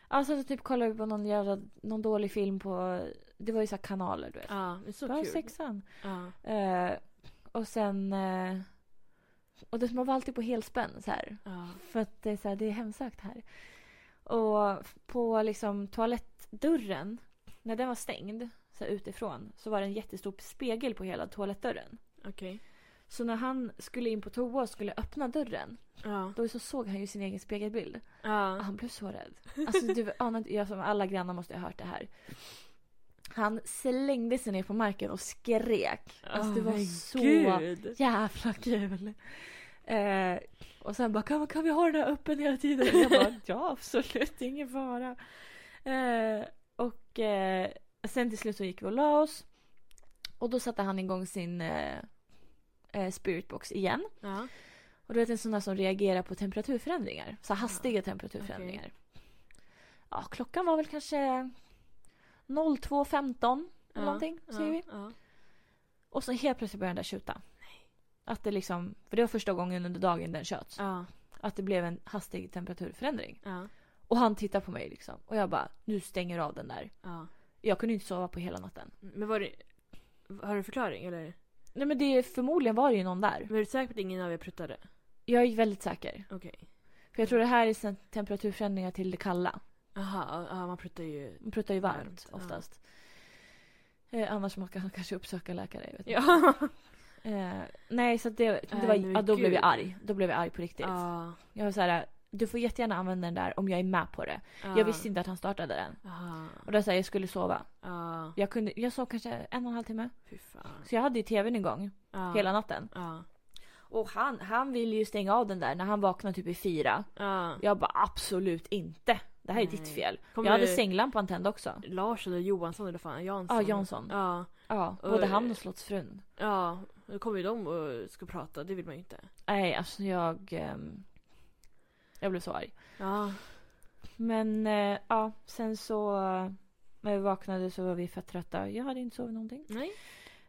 S1: Ja, sen så typ kollade vi på någon jävla, någon dålig film på... Det var ju så här kanaler, du vet.
S2: Ja. Men så
S1: Bara
S2: kul.
S1: sexan.
S2: Ja.
S1: Eh, och sen... Eh, och det, man var alltid på helspänn så här.
S2: Ja.
S1: För att det är, så här, det är hemsökt här. Och på liksom toalettdörren, när den var stängd så här, utifrån, så var det en jättestor spegel på hela toalettdörren.
S2: Okej.
S1: Så när han skulle in på toa och skulle öppna dörren,
S2: Ja.
S1: då så såg han ju sin egen spegelbild.
S2: Ja.
S1: Han blev så rädd. Alltså du anar inte, jag som alla grannar måste ha hört det här. Han slängde sig ner på marken och skrek. Alltså det
S2: Åh,
S1: var
S2: men
S1: så
S2: Gud.
S1: jävla kul. Eh, och sen bara, kan, man- kan vi ha den här öppen hela tiden? Jag bara, ja absolut, ingen fara. Eh, och eh, sen till slut så gick vi och la oss. Och då satte han igång sin eh, eh, spiritbox igen.
S2: Ja.
S1: Och du vet en sån där som reagerar på temperaturförändringar. Så hastiga temperaturförändringar. Ja, klockan var väl kanske 02.15 eller
S2: Ja,
S1: någonting, säger
S2: ja,
S1: vi.
S2: Ja.
S1: Och så helt plötsligt började den där tjuta. Att det liksom, för det var första gången under dagen den tjöts.
S2: Ja.
S1: Att det blev en hastig temperaturförändring.
S2: Ja.
S1: Och han tittar på mig liksom. Och jag bara, nu stänger du av den där.
S2: ja.
S1: Jag kunde inte sova på hela natten.
S2: Men var det... Har du förklaring eller?
S1: Nej men det, förmodligen var det ju någon där.
S2: Men är du säker på att ingen av er pruttade?
S1: Mm. Jag är väldigt säker.
S2: Okej.
S1: För jag tror det här är sen temperaturförändringar till det kalla.
S2: Aha, ja, man pruttar ju...
S1: Man pruttar ju varmt
S2: Varmt, ja.
S1: oftast. Eh, annars man kan kanske uppsöka läkare. Jag vet inte.
S2: Ja.
S1: Eh, nej så att det, det
S2: Nej,
S1: var,
S2: men
S1: ja, då blev jag
S2: gud.
S1: arg. Då blev jag arg på riktigt.
S2: ja.
S1: Jag var så här, du får jättegärna använda den där om jag är med på det. Jag visste inte att han startade den.
S2: Ah,
S1: Och då sa jag, jag skulle sova.
S2: ah,
S1: Jag, kunde, jag sov kanske en och en halv timme.
S2: fy fan.
S1: Så jag hade ju tvn igång
S2: Ah,
S1: hela natten.
S2: Ja.
S1: Och han, han ville ju stänga av den där när han vaknade typ i fyra.
S2: Ah.
S1: Jag bara absolut inte. Det här är ditt
S2: Nej.
S1: fel.
S2: Kommer
S1: jag hade
S2: du-
S1: sänglampan tänd också.
S2: Lars eller Johansson eller fan, Jansson.
S1: Ja, Jansson. Ja,
S2: Ja.
S1: både
S2: Och-
S1: han och slottsfrun.
S2: Ja, då kommer ju de och ska prata, det vill man ju inte.
S1: Nej, alltså jag... ehm, jag blev så arg.
S2: Ja.
S1: Men eh, ja, sen så... eh, När vi vaknade så var vi fett trötta. Jag hade inte sovit någonting.
S2: Nej.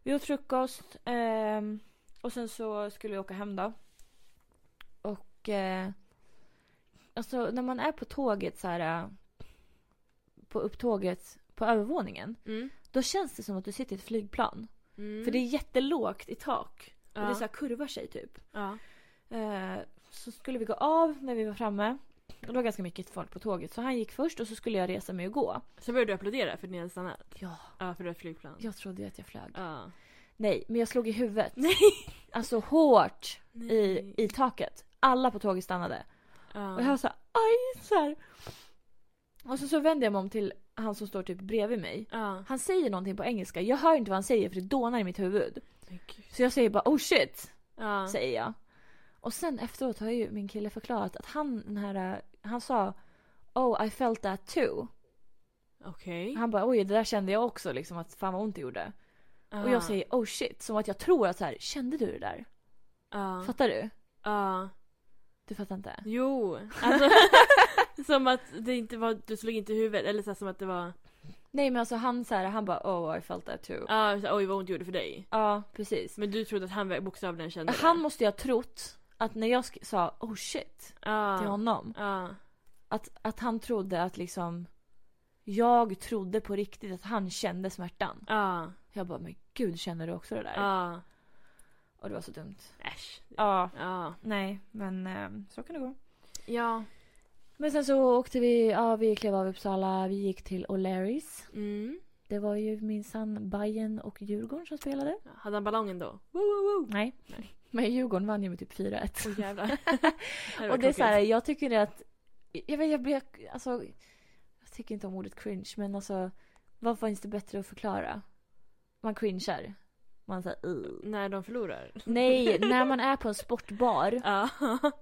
S1: Vi åt frukost. ehm, och sen så skulle vi åka hem då. Och... Eh, alltså när man är på tåget så här... eh, På upptåget på övervåningen.
S2: Mm.
S1: Då känns det som att du sitter i ett flygplan.
S2: Mm.
S1: För det är jättelågt i tak.
S2: ja.
S1: Och det så här kurvar sig typ.
S2: ja.
S1: Eh, så skulle vi gå av när vi var framme. Det var ganska mycket folk på tåget så han gick först och så skulle jag resa mig och gå.
S2: Så började du applådera för att ni hade stannat?
S1: Ja.
S2: Ja, för det var ett flygplan.
S1: Jag trodde ju att jag flög.
S2: Ja.
S1: Nej, men jag slog i huvudet. Alltså hårt i, i taket. Alla på tåget stannade.
S2: Ja.
S1: Och jag var så här, aj så här. Och så, så vände jag mig om till han som står typ bredvid mig.
S2: Ja.
S1: Han säger någonting på engelska. Jag hör inte vad han säger för det dånar i mitt huvud.
S2: Men gud.
S1: Så jag säger bara oh shit.
S2: Ja.
S1: säger jag. Och sen efteråt har ju min kille förklarat att han, den här, eh, han sa Oh I felt that too.
S2: Okej.
S1: Han bara oj det där kände jag också liksom att fan vad ont det gjorde.
S2: Ja.
S1: Och jag säger oh shit som att jag tror att så här kände du det där?
S2: Ja.
S1: Fattar du?
S2: Ja.
S1: Du fattar inte?
S2: Jo. Alltså, som att det inte var, du slog inte i huvudet. Eller så här, som att det var,
S1: Nej men alltså han så här, han bara oh I felt that too. Ja
S2: ja, så här, oj vad ont det gjorde för dig.
S1: precis.
S2: Men du trodde att han bokstavligen kände det?
S1: Han måste ju ha trott att när jag sk- sa oh shit
S2: ja.
S1: till honom
S2: Ja.
S1: att, att han trodde att liksom jag trodde på riktigt att han kände smärtan.
S2: Ja.
S1: Jag bara men gud känner du också det där?
S2: Ja.
S1: Och det var så dumt.
S2: Äsch.
S1: Ja,
S2: Ja.
S1: nej, men ehm, så kan det gå.
S2: Ja.
S1: Men sen så åkte vi, ja vi klev av Uppsala, vi gick till O'Larrys.
S2: Mm.
S1: Det var ju minsann Bayern och Djurgården som spelade.
S2: Hade han ballongen då? Woo, woo, woo.
S1: Nej.
S2: Nej.
S1: Men Djurgården vann ju med typ 4-1.
S2: Åh jävlar. här var
S1: och det är så här,
S2: tråkigt.
S1: jag tycker det att, jag vet jag blir, alltså, jag tycker inte om ordet cringe men alltså, vad finns det bättre att förklara? Man cringear. Man säger "Ugh."
S2: När de förlorar?
S1: Nej, när man är på en sportbar
S2: Ja.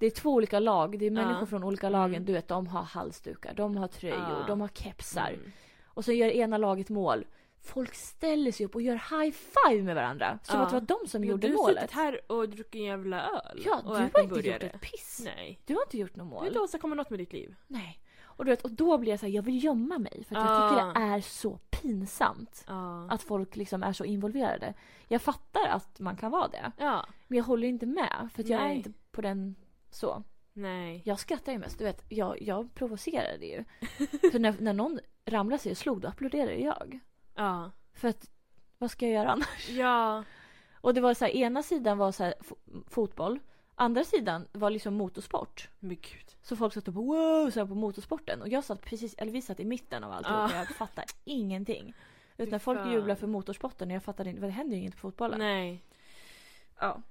S1: Det är två olika lag, det är
S2: Ja.
S1: människor från olika lagen.
S2: Mm.
S1: Du vet, de har halsdukar, de har tröjor,
S2: Ja.
S1: de har kepsar.
S2: Mm.
S1: Och så gör ena laget mål. Folk ställer sig upp och gör high five med varandra. Som
S2: Ja.
S1: att det var de som
S2: Men
S1: gjorde
S2: du har
S1: målet.
S2: suttit här och druckit en jävla öl.
S1: ja,
S2: och
S1: du har
S2: ätit en
S1: inte gjort
S2: burgare.
S1: ett piss.
S2: Nej.
S1: Du har inte gjort något
S2: Du har
S1: mål.
S2: inte åstadkommit något med ditt liv.
S1: Nej. Och, du vet, och då blir jag så här, jag vill gömma mig. För att
S2: Ja.
S1: jag tycker det är så pinsamt.
S2: Ja.
S1: Att folk liksom är så involverade. Jag fattar att man kan vara det.
S2: Ja.
S1: Men jag håller ju inte med. För att jag är
S2: Nej.
S1: inte på den så.
S2: Nej.
S1: Jag skrattar ju mest. Du vet, jag, jag provocerade ju. För när, när någon ramlade sig och slog då applåderade jag.
S2: Ja.
S1: För att vad ska jag göra annars?
S2: Typ. Ja.
S1: Och det var så här, ena sidan var så här, fo- fotboll. Andra sidan var liksom motorsport.
S2: Men gud.
S1: Så folk satt och bara, wow så här på motorsporten. Och jag satt precis, eller vi satt i mitten av allt
S2: Ja.
S1: och jag fattade ingenting.
S2: Fy
S1: Utan folk
S2: fan.
S1: jublar för motorsporten och jag fattade inte, det händer ju inget på fotbollen.
S2: Nej.
S1: Ja.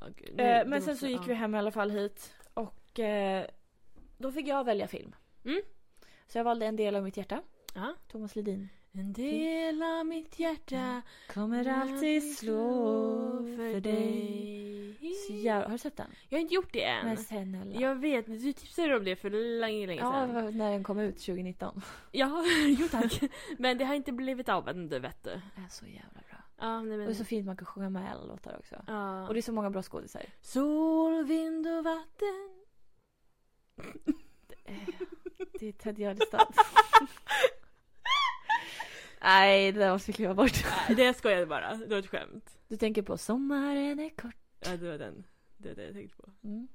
S2: Ja, gud.
S1: Eh,
S2: Nu-
S1: men
S2: det
S1: sen
S2: måste-
S1: så gick
S2: ja.
S1: vi hem i alla fall hit och eh, då fick jag välja film.
S2: Mm.
S1: Så jag valde En del av mitt hjärta,
S2: Ja.
S1: Thomas Ledin.
S2: En del av mitt hjärta
S1: Kommer Så jävla, har du sett den?
S2: Jag har inte gjort det än.
S1: Men snälla.
S2: Jag vet, du tipsade om det för länge, länge
S1: Ja,
S2: sedan.
S1: det var när den kom ut 2019.
S2: Ja, jo tack. Men det har inte blivit av än, du vet du.
S1: Den är så jävla bra.
S2: Ja, nej,
S1: Och det är
S2: men...
S1: så fint man kan sjunga med alla låtar också.
S2: Ja.
S1: Och det är så många bra skådisar.
S2: Sol, vind och vatten.
S1: Det är Ted Gärdestad. Nej, det där måste vi kliva bort.
S2: Nej, det skojade bara. Det var ett skämt.
S1: Du tänker på Sommaren är kort.
S2: Ja, det var den. Det var det jag tänkte på.
S1: Mm.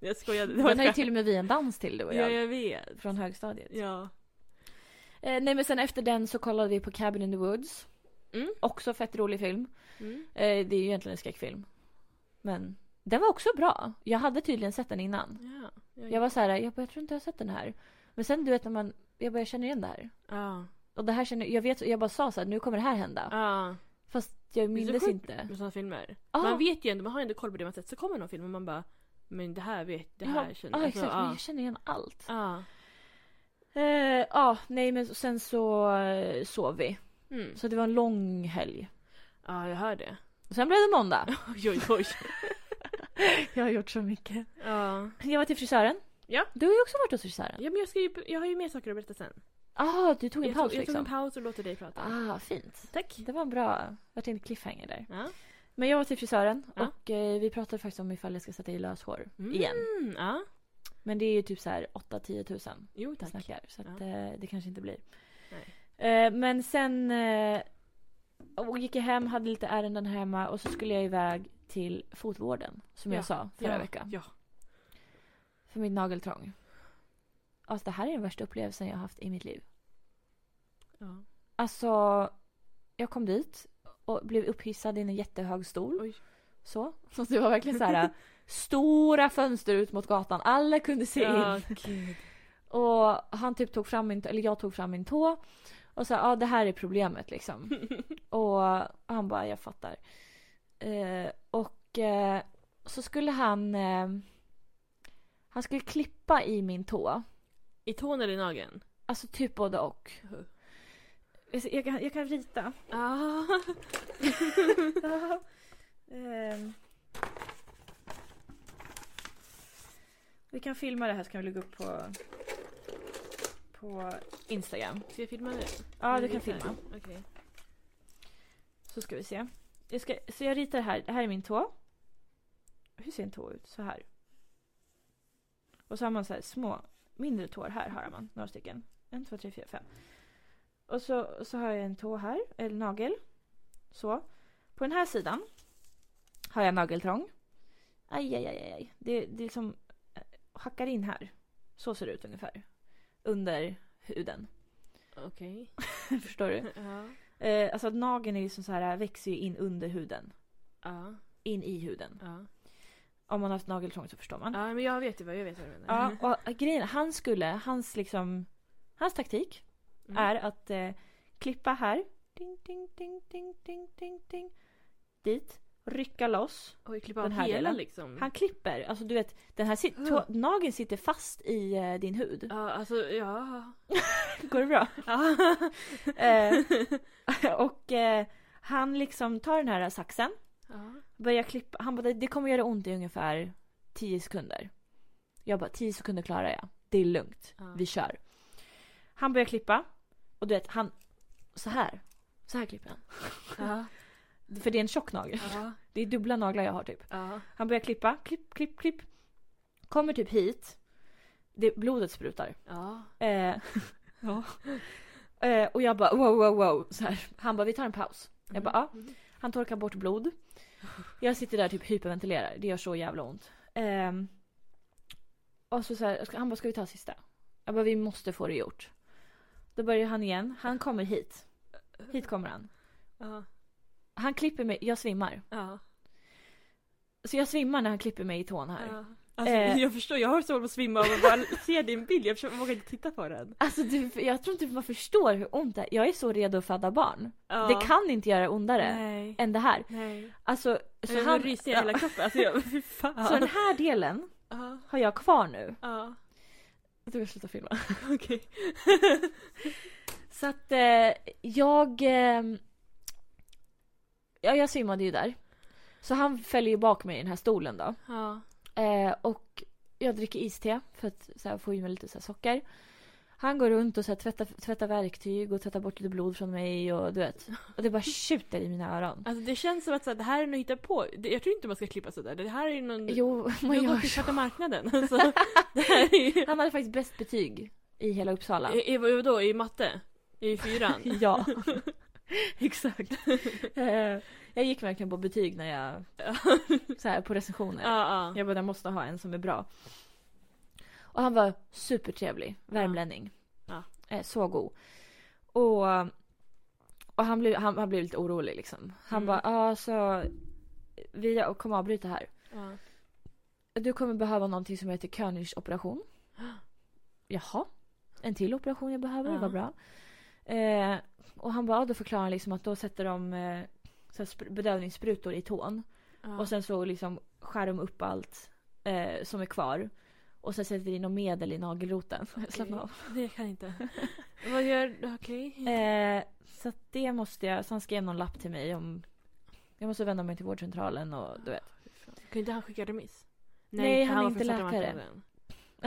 S2: Jag skojade. Det var
S1: Den har ju
S2: ett skämt.
S1: till och med vi en dans till du och
S2: Ja,
S1: jag.
S2: jag vet.
S1: Från högstadiet.
S2: Ja.
S1: Eh, nej men sen efter den så kollade vi på Cabin in the Woods.
S2: Mm.
S1: Också fett rolig film.
S2: Mm.
S1: Eh, det är ju egentligen en skräckfilm. Men den var också bra. Jag hade tydligen sett den innan.
S2: Ja.
S1: Jag var så här, jag, bara, jag tror inte jag har sett den här. Men sen du vet när man, jag bara jag känner igen det här.
S2: Ja.
S1: Och det här känner, jag vet, jag bara sa så här, nu kommer det här hända.
S2: Ja.
S1: Fast jag
S2: Det är så
S1: mindes
S2: sjukt
S1: inte. Ah,
S2: Med sådana filmer.
S1: Ja.
S2: Man vet ju ändå, man har ju ändå koll på det man sett. Så kommer någon film och man bara Men det här vet, det här
S1: ja,
S2: känner
S1: ja,
S2: alltså,
S1: ah, exakt. Men
S2: ja.
S1: jag känner igen allt.
S2: Ja.
S1: Eh, ja, nej men sen så eh, sov vi.
S2: Mm.
S1: Så det var en lång helg.
S2: ja, jag hör det.
S1: Och sen blev det måndag.
S2: Oj, oj, oj.
S1: jag har gjort så mycket.
S2: ja.
S1: Jag var till frisören.
S2: Ja.
S1: Du har ju också varit hos frisören.
S2: ja, men jag, ska ju, jag har ju mer saker att berätta sen.
S1: Ah, du tog en
S2: jag
S1: paus
S2: tog, jag tog
S1: liksom.
S2: en paus och låter dig prata.
S1: Ah, fint.
S2: Tack.
S1: Det var en bra, vart en cliffhanger där.
S2: Ja.
S1: Men jag var till frisören
S2: Ja.
S1: och eh, vi pratade faktiskt om ifall jag ska sätta i löshår
S2: Mm.
S1: igen.
S2: Mm, ja.
S1: Men det är ju typ så här 8-10 tusen
S2: Jo,
S1: vi
S2: tack.
S1: snackar. Så att,
S2: Ja.
S1: eh, det kanske inte blir. Eh, men sen eh, och gick jag hem, hade lite ärenden hemma och så skulle jag iväg till fotvården. Som
S2: Ja.
S1: jag sa förra
S2: ja.
S1: veckan.
S2: Ja.
S1: För mitt nageltrång. Alltså det här är den värsta upplevelsen jag har haft i mitt liv.
S2: ja.
S1: Alltså, jag kom dit och blev upphissad i en jättehög stol.
S2: Oj.
S1: Så. Så det var verkligen så här stora fönster ut mot gatan. Alla kunde se
S2: Ja,
S1: in.
S2: gud.
S1: Och han typ tog fram min, eller jag tog fram min tå. Och sa ja det här är problemet liksom. och han bara jag fattar. Eh, och eh, så skulle han, eh, han skulle klippa i min tå.
S2: I tån eller i nageln?
S1: Alltså typ både och.
S2: Uh-huh.
S1: Jag kan, jag kan rita.
S2: Ah.
S1: Ehm. Vi kan filma det här så kan vi lägga upp på, på Instagram.
S2: Ska jag filma det?
S1: Ja, du
S2: Eller
S1: kan
S2: ritar jag?
S1: filma.
S2: Okej.
S1: Så ska vi se. Jag ska, så jag ritar här. Det här är min tå. Hur ser en tå ut? Så här. Och så har man så här små, mindre tår. Här har man några stycken. En, två, tre, fyra, fem. Och så, och så har jag en tå här, eller nagel. Så. På den här sidan har jag nageltrång. Aj, aj, aj, aj, aj. Det, det liksom eh, hackar in här. Så ser det ut ungefär. Under huden.
S2: Okej.
S1: Förstår du?
S2: Ja.
S1: Eh, alltså att nageln är ju som så här, växer ju in under huden.
S2: Ja.
S1: In i huden.
S2: Ja.
S1: Om man har haft nageltrång så förstår man.
S2: Ja, men jag vet ju vad jag vet vad du
S1: Ja,
S2: menar.
S1: och grejen, han skulle, hans liksom, hans taktik
S2: Mm.
S1: är att eh, klippa här. Ding, ding, ding, ding, ding, ding, ding. Dit. Rycka loss.
S2: Oj, klippa av
S1: den här
S2: hela
S1: delen.
S2: liksom.
S1: Han klipper, alltså du vet, den här sit-
S2: Mm.
S1: tå- nageln sitter fast i eh, din hud.
S2: Ja, alltså ja.
S1: Går det bra?
S2: Ja.
S1: eh, och eh, han liksom tar den här saxen
S2: ja.
S1: börjar klippa. Han bara, det kommer göra ont i ungefär 10 sekunder. Jag bara, 10 sekunder klarar jag. Det är lugnt.
S2: Ja.
S1: Vi kör. Han börjar klippa. Och du vet, han... Så här. Så här klipper han.
S2: Ja.
S1: För det är en tjock nagel.
S2: Ja.
S1: Det är dubbla naglar jag har typ.
S2: Ja.
S1: Han börjar klippa. Klipp, klipp, klipp. Kommer typ hit. Det, blodet sprutar.
S2: Ja.
S1: Eh, ja. eh, och jag bara wow, wow, wow. Så här. Han bara, vi tar en paus. Jag bara, ja.
S2: Mm.
S1: Han torkar bort blod. Jag sitter där och typ hyperventilerar. Det gör så jävla ont. Ehm, och så, så här, ska- han bara, ska vi ta sista? Jag bara, vi måste få det gjort. Då börjar han igen. Han kommer hit. Hit kommer han.
S2: Ja.
S1: Han klipper mig, jag svimmar.
S2: Ja.
S1: Så jag svimmar när han klipper mig i tån här.
S2: Ja. Alltså,
S1: Eh.
S2: Jag förstår, jag har svårt att svimma av att bara se din bild. Jag försöker- vågar inte titta på den.
S1: Alltså du, jag tror inte man förstår hur ont det är. Jag är så redo att föda barn.
S2: Ja.
S1: Det kan inte göra ondare
S2: Nej.
S1: än det här.
S2: Nej.
S1: Alltså,
S2: Så
S1: så,
S2: han
S1: han,
S2: ryser i hela kroppen. Alltså jag, fy fan.
S1: så den här delen
S2: Ja.
S1: har jag kvar nu.
S2: Ja.
S1: Jag tror jag slutar filma.
S2: Okej.
S1: Så att eh, jag... Eh, ja, jag simmade ju där. Så han följer ju bak mig i den här stolen då.
S2: Ja.
S1: Eh, och jag dricker iste för att så här, få i mig lite så här, socker. Han går runt och så här, tvättar, tvättar verktyg och tvättar bort lite blod från mig och du vet. Och det bara tjuter i mina öron.
S2: Alltså det känns som att så här, det här är något hitta på. Det- Jag tror inte man ska klippa sådär. Det här är ju någon...
S1: Jo,
S2: du
S1: man
S2: har
S1: gör
S2: gått till
S1: så.
S2: svarta marknaden. Alltså, det här är ju...
S1: Han hade faktiskt bäst betyg i hela Uppsala.
S2: I, i, vadå, I matte? I fyran?
S1: Ja, exakt. Eh, jag gick verkligen på betyg när jag... Så här, på recensioner.
S2: Ja, ja.
S1: Jag bara, jag måste ha en som är bra. Och han var supertrevlig. Värmlänning.
S2: Ja.
S1: Eh, Så god. Och, och han, blev, han, han blev lite orolig liksom. Han
S2: Mm.
S1: bara, ja så vi kommer avbryta här.
S2: ja.
S1: Du kommer behöva någonting som heter Königs operation. Jaha. En till operation jag behöver, det var bra.
S2: Ja.
S1: Eh, och han bara, ja, då förklarar han liksom att då sätter de eh, så här spr- bedövningssprutor i tån.
S2: ja.
S1: Och sen så liksom skär de upp allt eh, som är kvar. Och sen sätter vi in något medel i nagelroten. Slappna av.
S2: Det kan jag inte. Vad gör... Okej.
S1: Eh, så att det måste jag. Så han skrev någon lapp till mig om... Jag måste vända mig till vårdcentralen och du vet.
S2: Kan inte han skicka remiss?
S1: Nej,
S2: för
S1: han är
S2: var
S1: inte
S2: från svarta
S1: läkare.
S2: marknaden.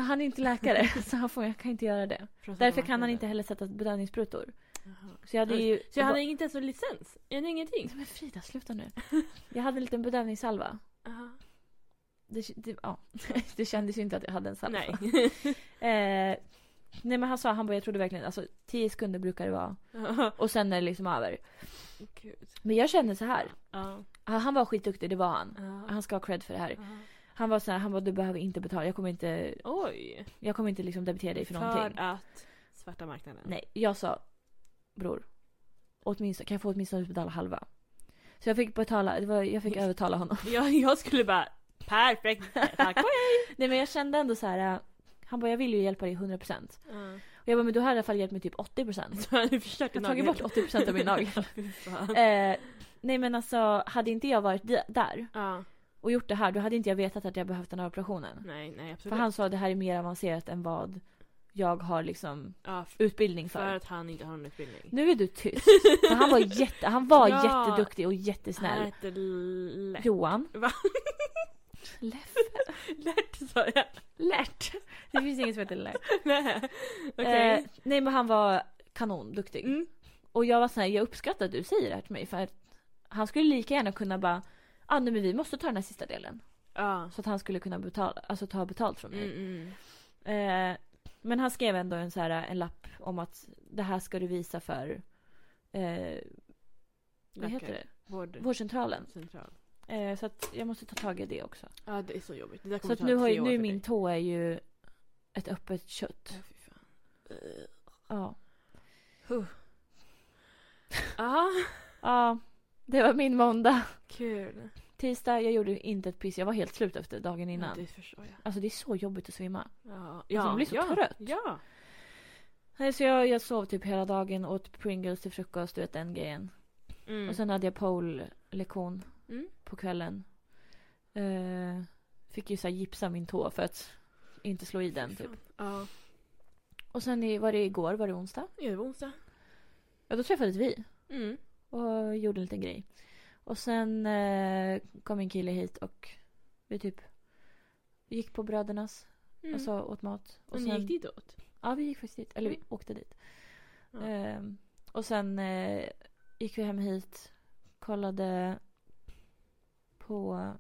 S1: Han är inte läkare så han får, jag kan inte göra det.
S2: Från svarta
S1: Därför kan han
S2: marknaden.
S1: inte heller sätta bedövningssprutor.
S2: Jaha.
S1: Så jag hade ju...
S2: Så jag hade inte ens en licens? Jag hade ingenting?
S1: Nej men Frida, sluta nu. Jag hade en liten bedövningssalva.
S2: Aha.
S1: Det, det, ja. det kändes ju inte att jag hade en salva.
S2: Nej.
S1: Eh, nej men han sa, han bara jag trodde verkligen, alltså 10 sekunder brukar det vara.
S2: Jaha.
S1: Och sen är det liksom över.
S2: Gud.
S1: Men jag känner så här.
S2: Ja.
S1: Han han var skitduktig, det var han.
S2: Ja.
S1: Han ska ha cred för det här.
S2: Ja.
S1: Han var så här, han bara du behöver inte betala, jag kommer inte,
S2: Oj.
S1: jag kommer inte liksom debitera dig för, någonting.
S2: att svarta marknaden.
S1: Nej, jag sa bror. Åtminstone, kan jag få åtminstone betala halva? Så jag fick betala, det var, jag fick övertala honom.
S2: Jag, jag skulle bara perfekt. Tack och
S1: Nej men jag kände ändå så här. eh, Han bara jag vill ju hjälpa dig 100%.
S2: hej.
S1: Och jag bara men du har i alla fall hjälpt mig typ 80%.
S2: Så hade du förstört
S1: Jag
S2: din
S1: har tagit bort
S2: nagel.
S1: 80% av min nagel.
S2: Fy fan.
S1: Eh, nej men alltså hade inte jag varit di- där
S2: Ja.
S1: och gjort det här då hade inte jag vetat att jag behövt den här operationen.
S2: Nej, nej
S1: För
S2: absolut.
S1: han sa att det här är mer avancerat än vad jag har liksom
S2: ja, för,
S1: utbildning för.
S2: för att han inte har någon utbildning.
S1: Nu är du tyst. För han var, jätte, han var
S2: Ja.
S1: jätteduktig och
S2: Han
S1: jättesnäll.
S2: hette Lärt.
S1: Johan.
S2: Va?
S1: Leff.
S2: Lärt sa jag.
S1: Lärt. Det finns inget som heter Lärt.
S2: Nej. Okej.
S1: Eh, nej men han var kanonduktig.
S2: Mm.
S1: Och jag var så här, jag uppskattar att du säger det här till mig för att han skulle lika gärna kunna bara, ah, nej men vi måste ta den här sista delen.
S2: Ja.
S1: Så att han skulle kunna betala, alltså ta betalt från mig.
S2: Mm, mm.
S1: Eh, men han skrev ändå en, så här, en lapp om att det här ska du visa för eh, vad heter det?
S2: Vård.
S1: vårdcentralen.
S2: Central.
S1: Eh, så att jag måste ta tag i det också.
S2: Ja, det är så jobbigt. Det där
S1: Så
S2: kommer
S1: att
S2: ta
S1: nu, har,
S2: tre
S1: ju-
S2: år
S1: nu är
S2: för
S1: min
S2: dig.
S1: tå är ju ett öppet kött.
S2: Ja, fy fan. Eh,
S1: Ja.
S2: Ja,
S1: ja, det var min måndag.
S2: kul.
S1: Tisdag, jag gjorde inte ett piss. Jag var helt slut efter dagen
S2: Ja,
S1: innan.
S2: det förstår jag.
S1: Alltså det är så jobbigt att svimma.
S2: Ja,
S1: Alltså, man blir så
S2: ja,
S1: trött.
S2: Ja.
S1: Nej, så jag, jag sov typ hela dagen, åt Pringles till frukost, du vet den grejen.
S2: Mm.
S1: Och sen hade jag pole-lektion
S2: Mm.
S1: på kvällen. Eh, fick ju så här gipsa min tå för att inte slå i den typ.
S2: Ja,
S1: Och sen i, var det igår, var det onsdag?
S2: ja, det var onsdag.
S1: Ja, då träffades vi
S2: Mm.
S1: och gjorde en liten grej. Och sen eh, kom min kille hit och vi typ gick på brödernas,
S2: Mm.
S1: alltså åt mat. Och
S2: och
S1: sen,
S2: ni gick ditåt?
S1: Ja, vi gick faktiskt dit. Eller vi
S2: Mm.
S1: åkte dit.
S2: Ja.
S1: Ehm, och sen eh, gick vi hem hit, kollade på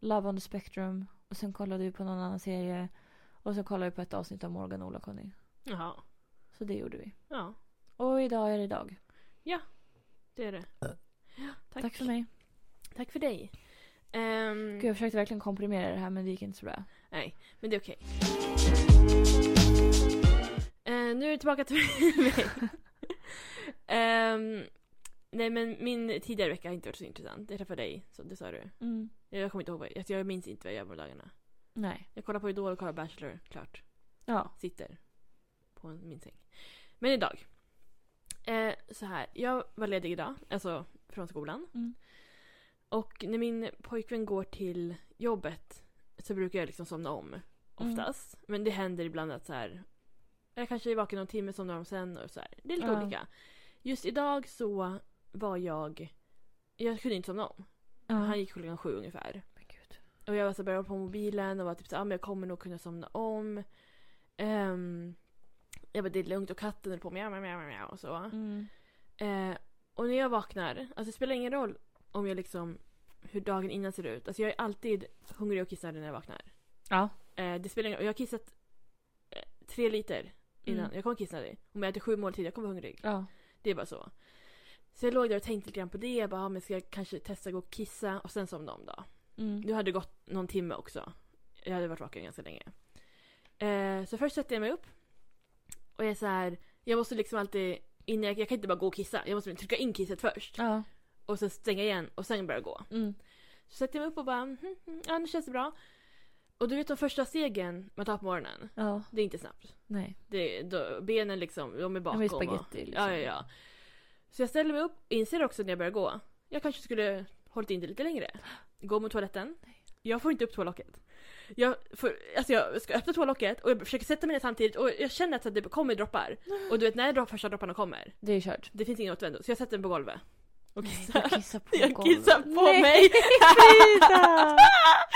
S1: Love on the Spectrum och sen kollade vi på någon annan serie och sen kollade vi på ett avsnitt av Morgan och Ola-Conny.
S2: Jaha.
S1: Så det gjorde vi.
S2: Ja,
S1: Och idag är det dag.
S2: det är det. Ja, tack.
S1: Tack, för mig.
S2: Tack för dig. Ehm,
S1: Gud, jag försökte verkligen komprimera det här men det gick inte så bra.
S2: Nej, men det är okej. Eh, nu är det tillbaka till mig. Ehm, nej men min tidigare vecka har inte varit så intressant. Jag träffade dig, så det sa du.
S1: Mm.
S2: Jag kommer inte ihåg vad jag, jag minns inte vad jag gör på dagarna.
S1: Nej.
S2: Jag kollar på Idol och kollar Bachelor, klart.
S1: Ja.
S2: Sitter på min säng. Men idag. Eh, så här, jag var ledig idag, alltså från skolan.
S1: Mm.
S2: Och när min pojkvän går till jobbet så brukar jag liksom somna om.
S1: Mm.
S2: Oftast. Men det händer ibland att så här. Jag kanske är vaken någon timme, somnar om sen och så här. Det är lite
S1: Ja.
S2: olika. Just idag så var jag... Jag kunde inte somna om.
S1: Ja.
S2: Han gick klockan sju ungefär.
S1: Men gud.
S2: Och jag var så här, började hålla på med mobilen och var typ så här, ah, men jag kommer nog kunna somna om. Ehm, jag bara det är lugnt och katten höll på med mjau, mjau, mjau och så.
S1: Mm.
S2: Eh, och när jag vaknar, alltså det spelar ingen roll om jag liksom hur dagen innan ser ut. Alltså jag är alltid hungrig och kissar när jag vaknar.
S1: Ja.
S2: Eh, det spelar ingen roll, jag har kissat eh, tre liter innan.
S1: Mm.
S2: Jag kommer kissa dig. Om jag äter sju måltider, jag kommer vara hungrig.
S1: Ja.
S2: Det är bara så. Så jag låg där och tänkte lite grann på det. Jag bara, ah, men ska jag kanske testa gå och kissa och sen somna om då?
S1: Mm.
S2: Du hade gått någon timme också. Jag hade varit vaken ganska länge. Eh, så först sätter jag mig upp. Och jag är så här, jag måste liksom alltid, innan jag, jag kan inte bara gå och kissa. Jag måste trycka in kisset först.
S1: Ja.
S2: Och sen stänga igen och sen börja gå.
S1: Mm.
S2: Så sätter jag mig upp och bara, "Mhm, mhm, ja nu känns det bra. Och du vet de första stegen man tar på morgonen,
S1: Ja.
S2: det är inte snabbt.
S1: Nej.
S2: Det, då, benen liksom, de är
S1: Ja,
S2: bakom.
S1: men
S2: och-
S1: spagetti liksom.
S2: Ja, ja, ja. Så jag ställer mig upp, inser också när jag börjar gå. Jag kanske skulle hållit in det lite längre. Gå mot toaletten. Jag får inte upp toalocket. Jag, får, alltså jag ska öppna toalocket och jag försöker sätta mig ner samtidigt och jag känner att det kommer droppar. Och du vet när dropp, första dropparna kommer,
S1: Det är kört.
S2: det finns ingen återvändo. Så jag sätter mig på golvet. Och
S1: Jag
S2: kissar.
S1: kissar på
S2: Jag
S1: golvet.
S2: kissar på
S1: Nej,
S2: mig!
S1: Frida!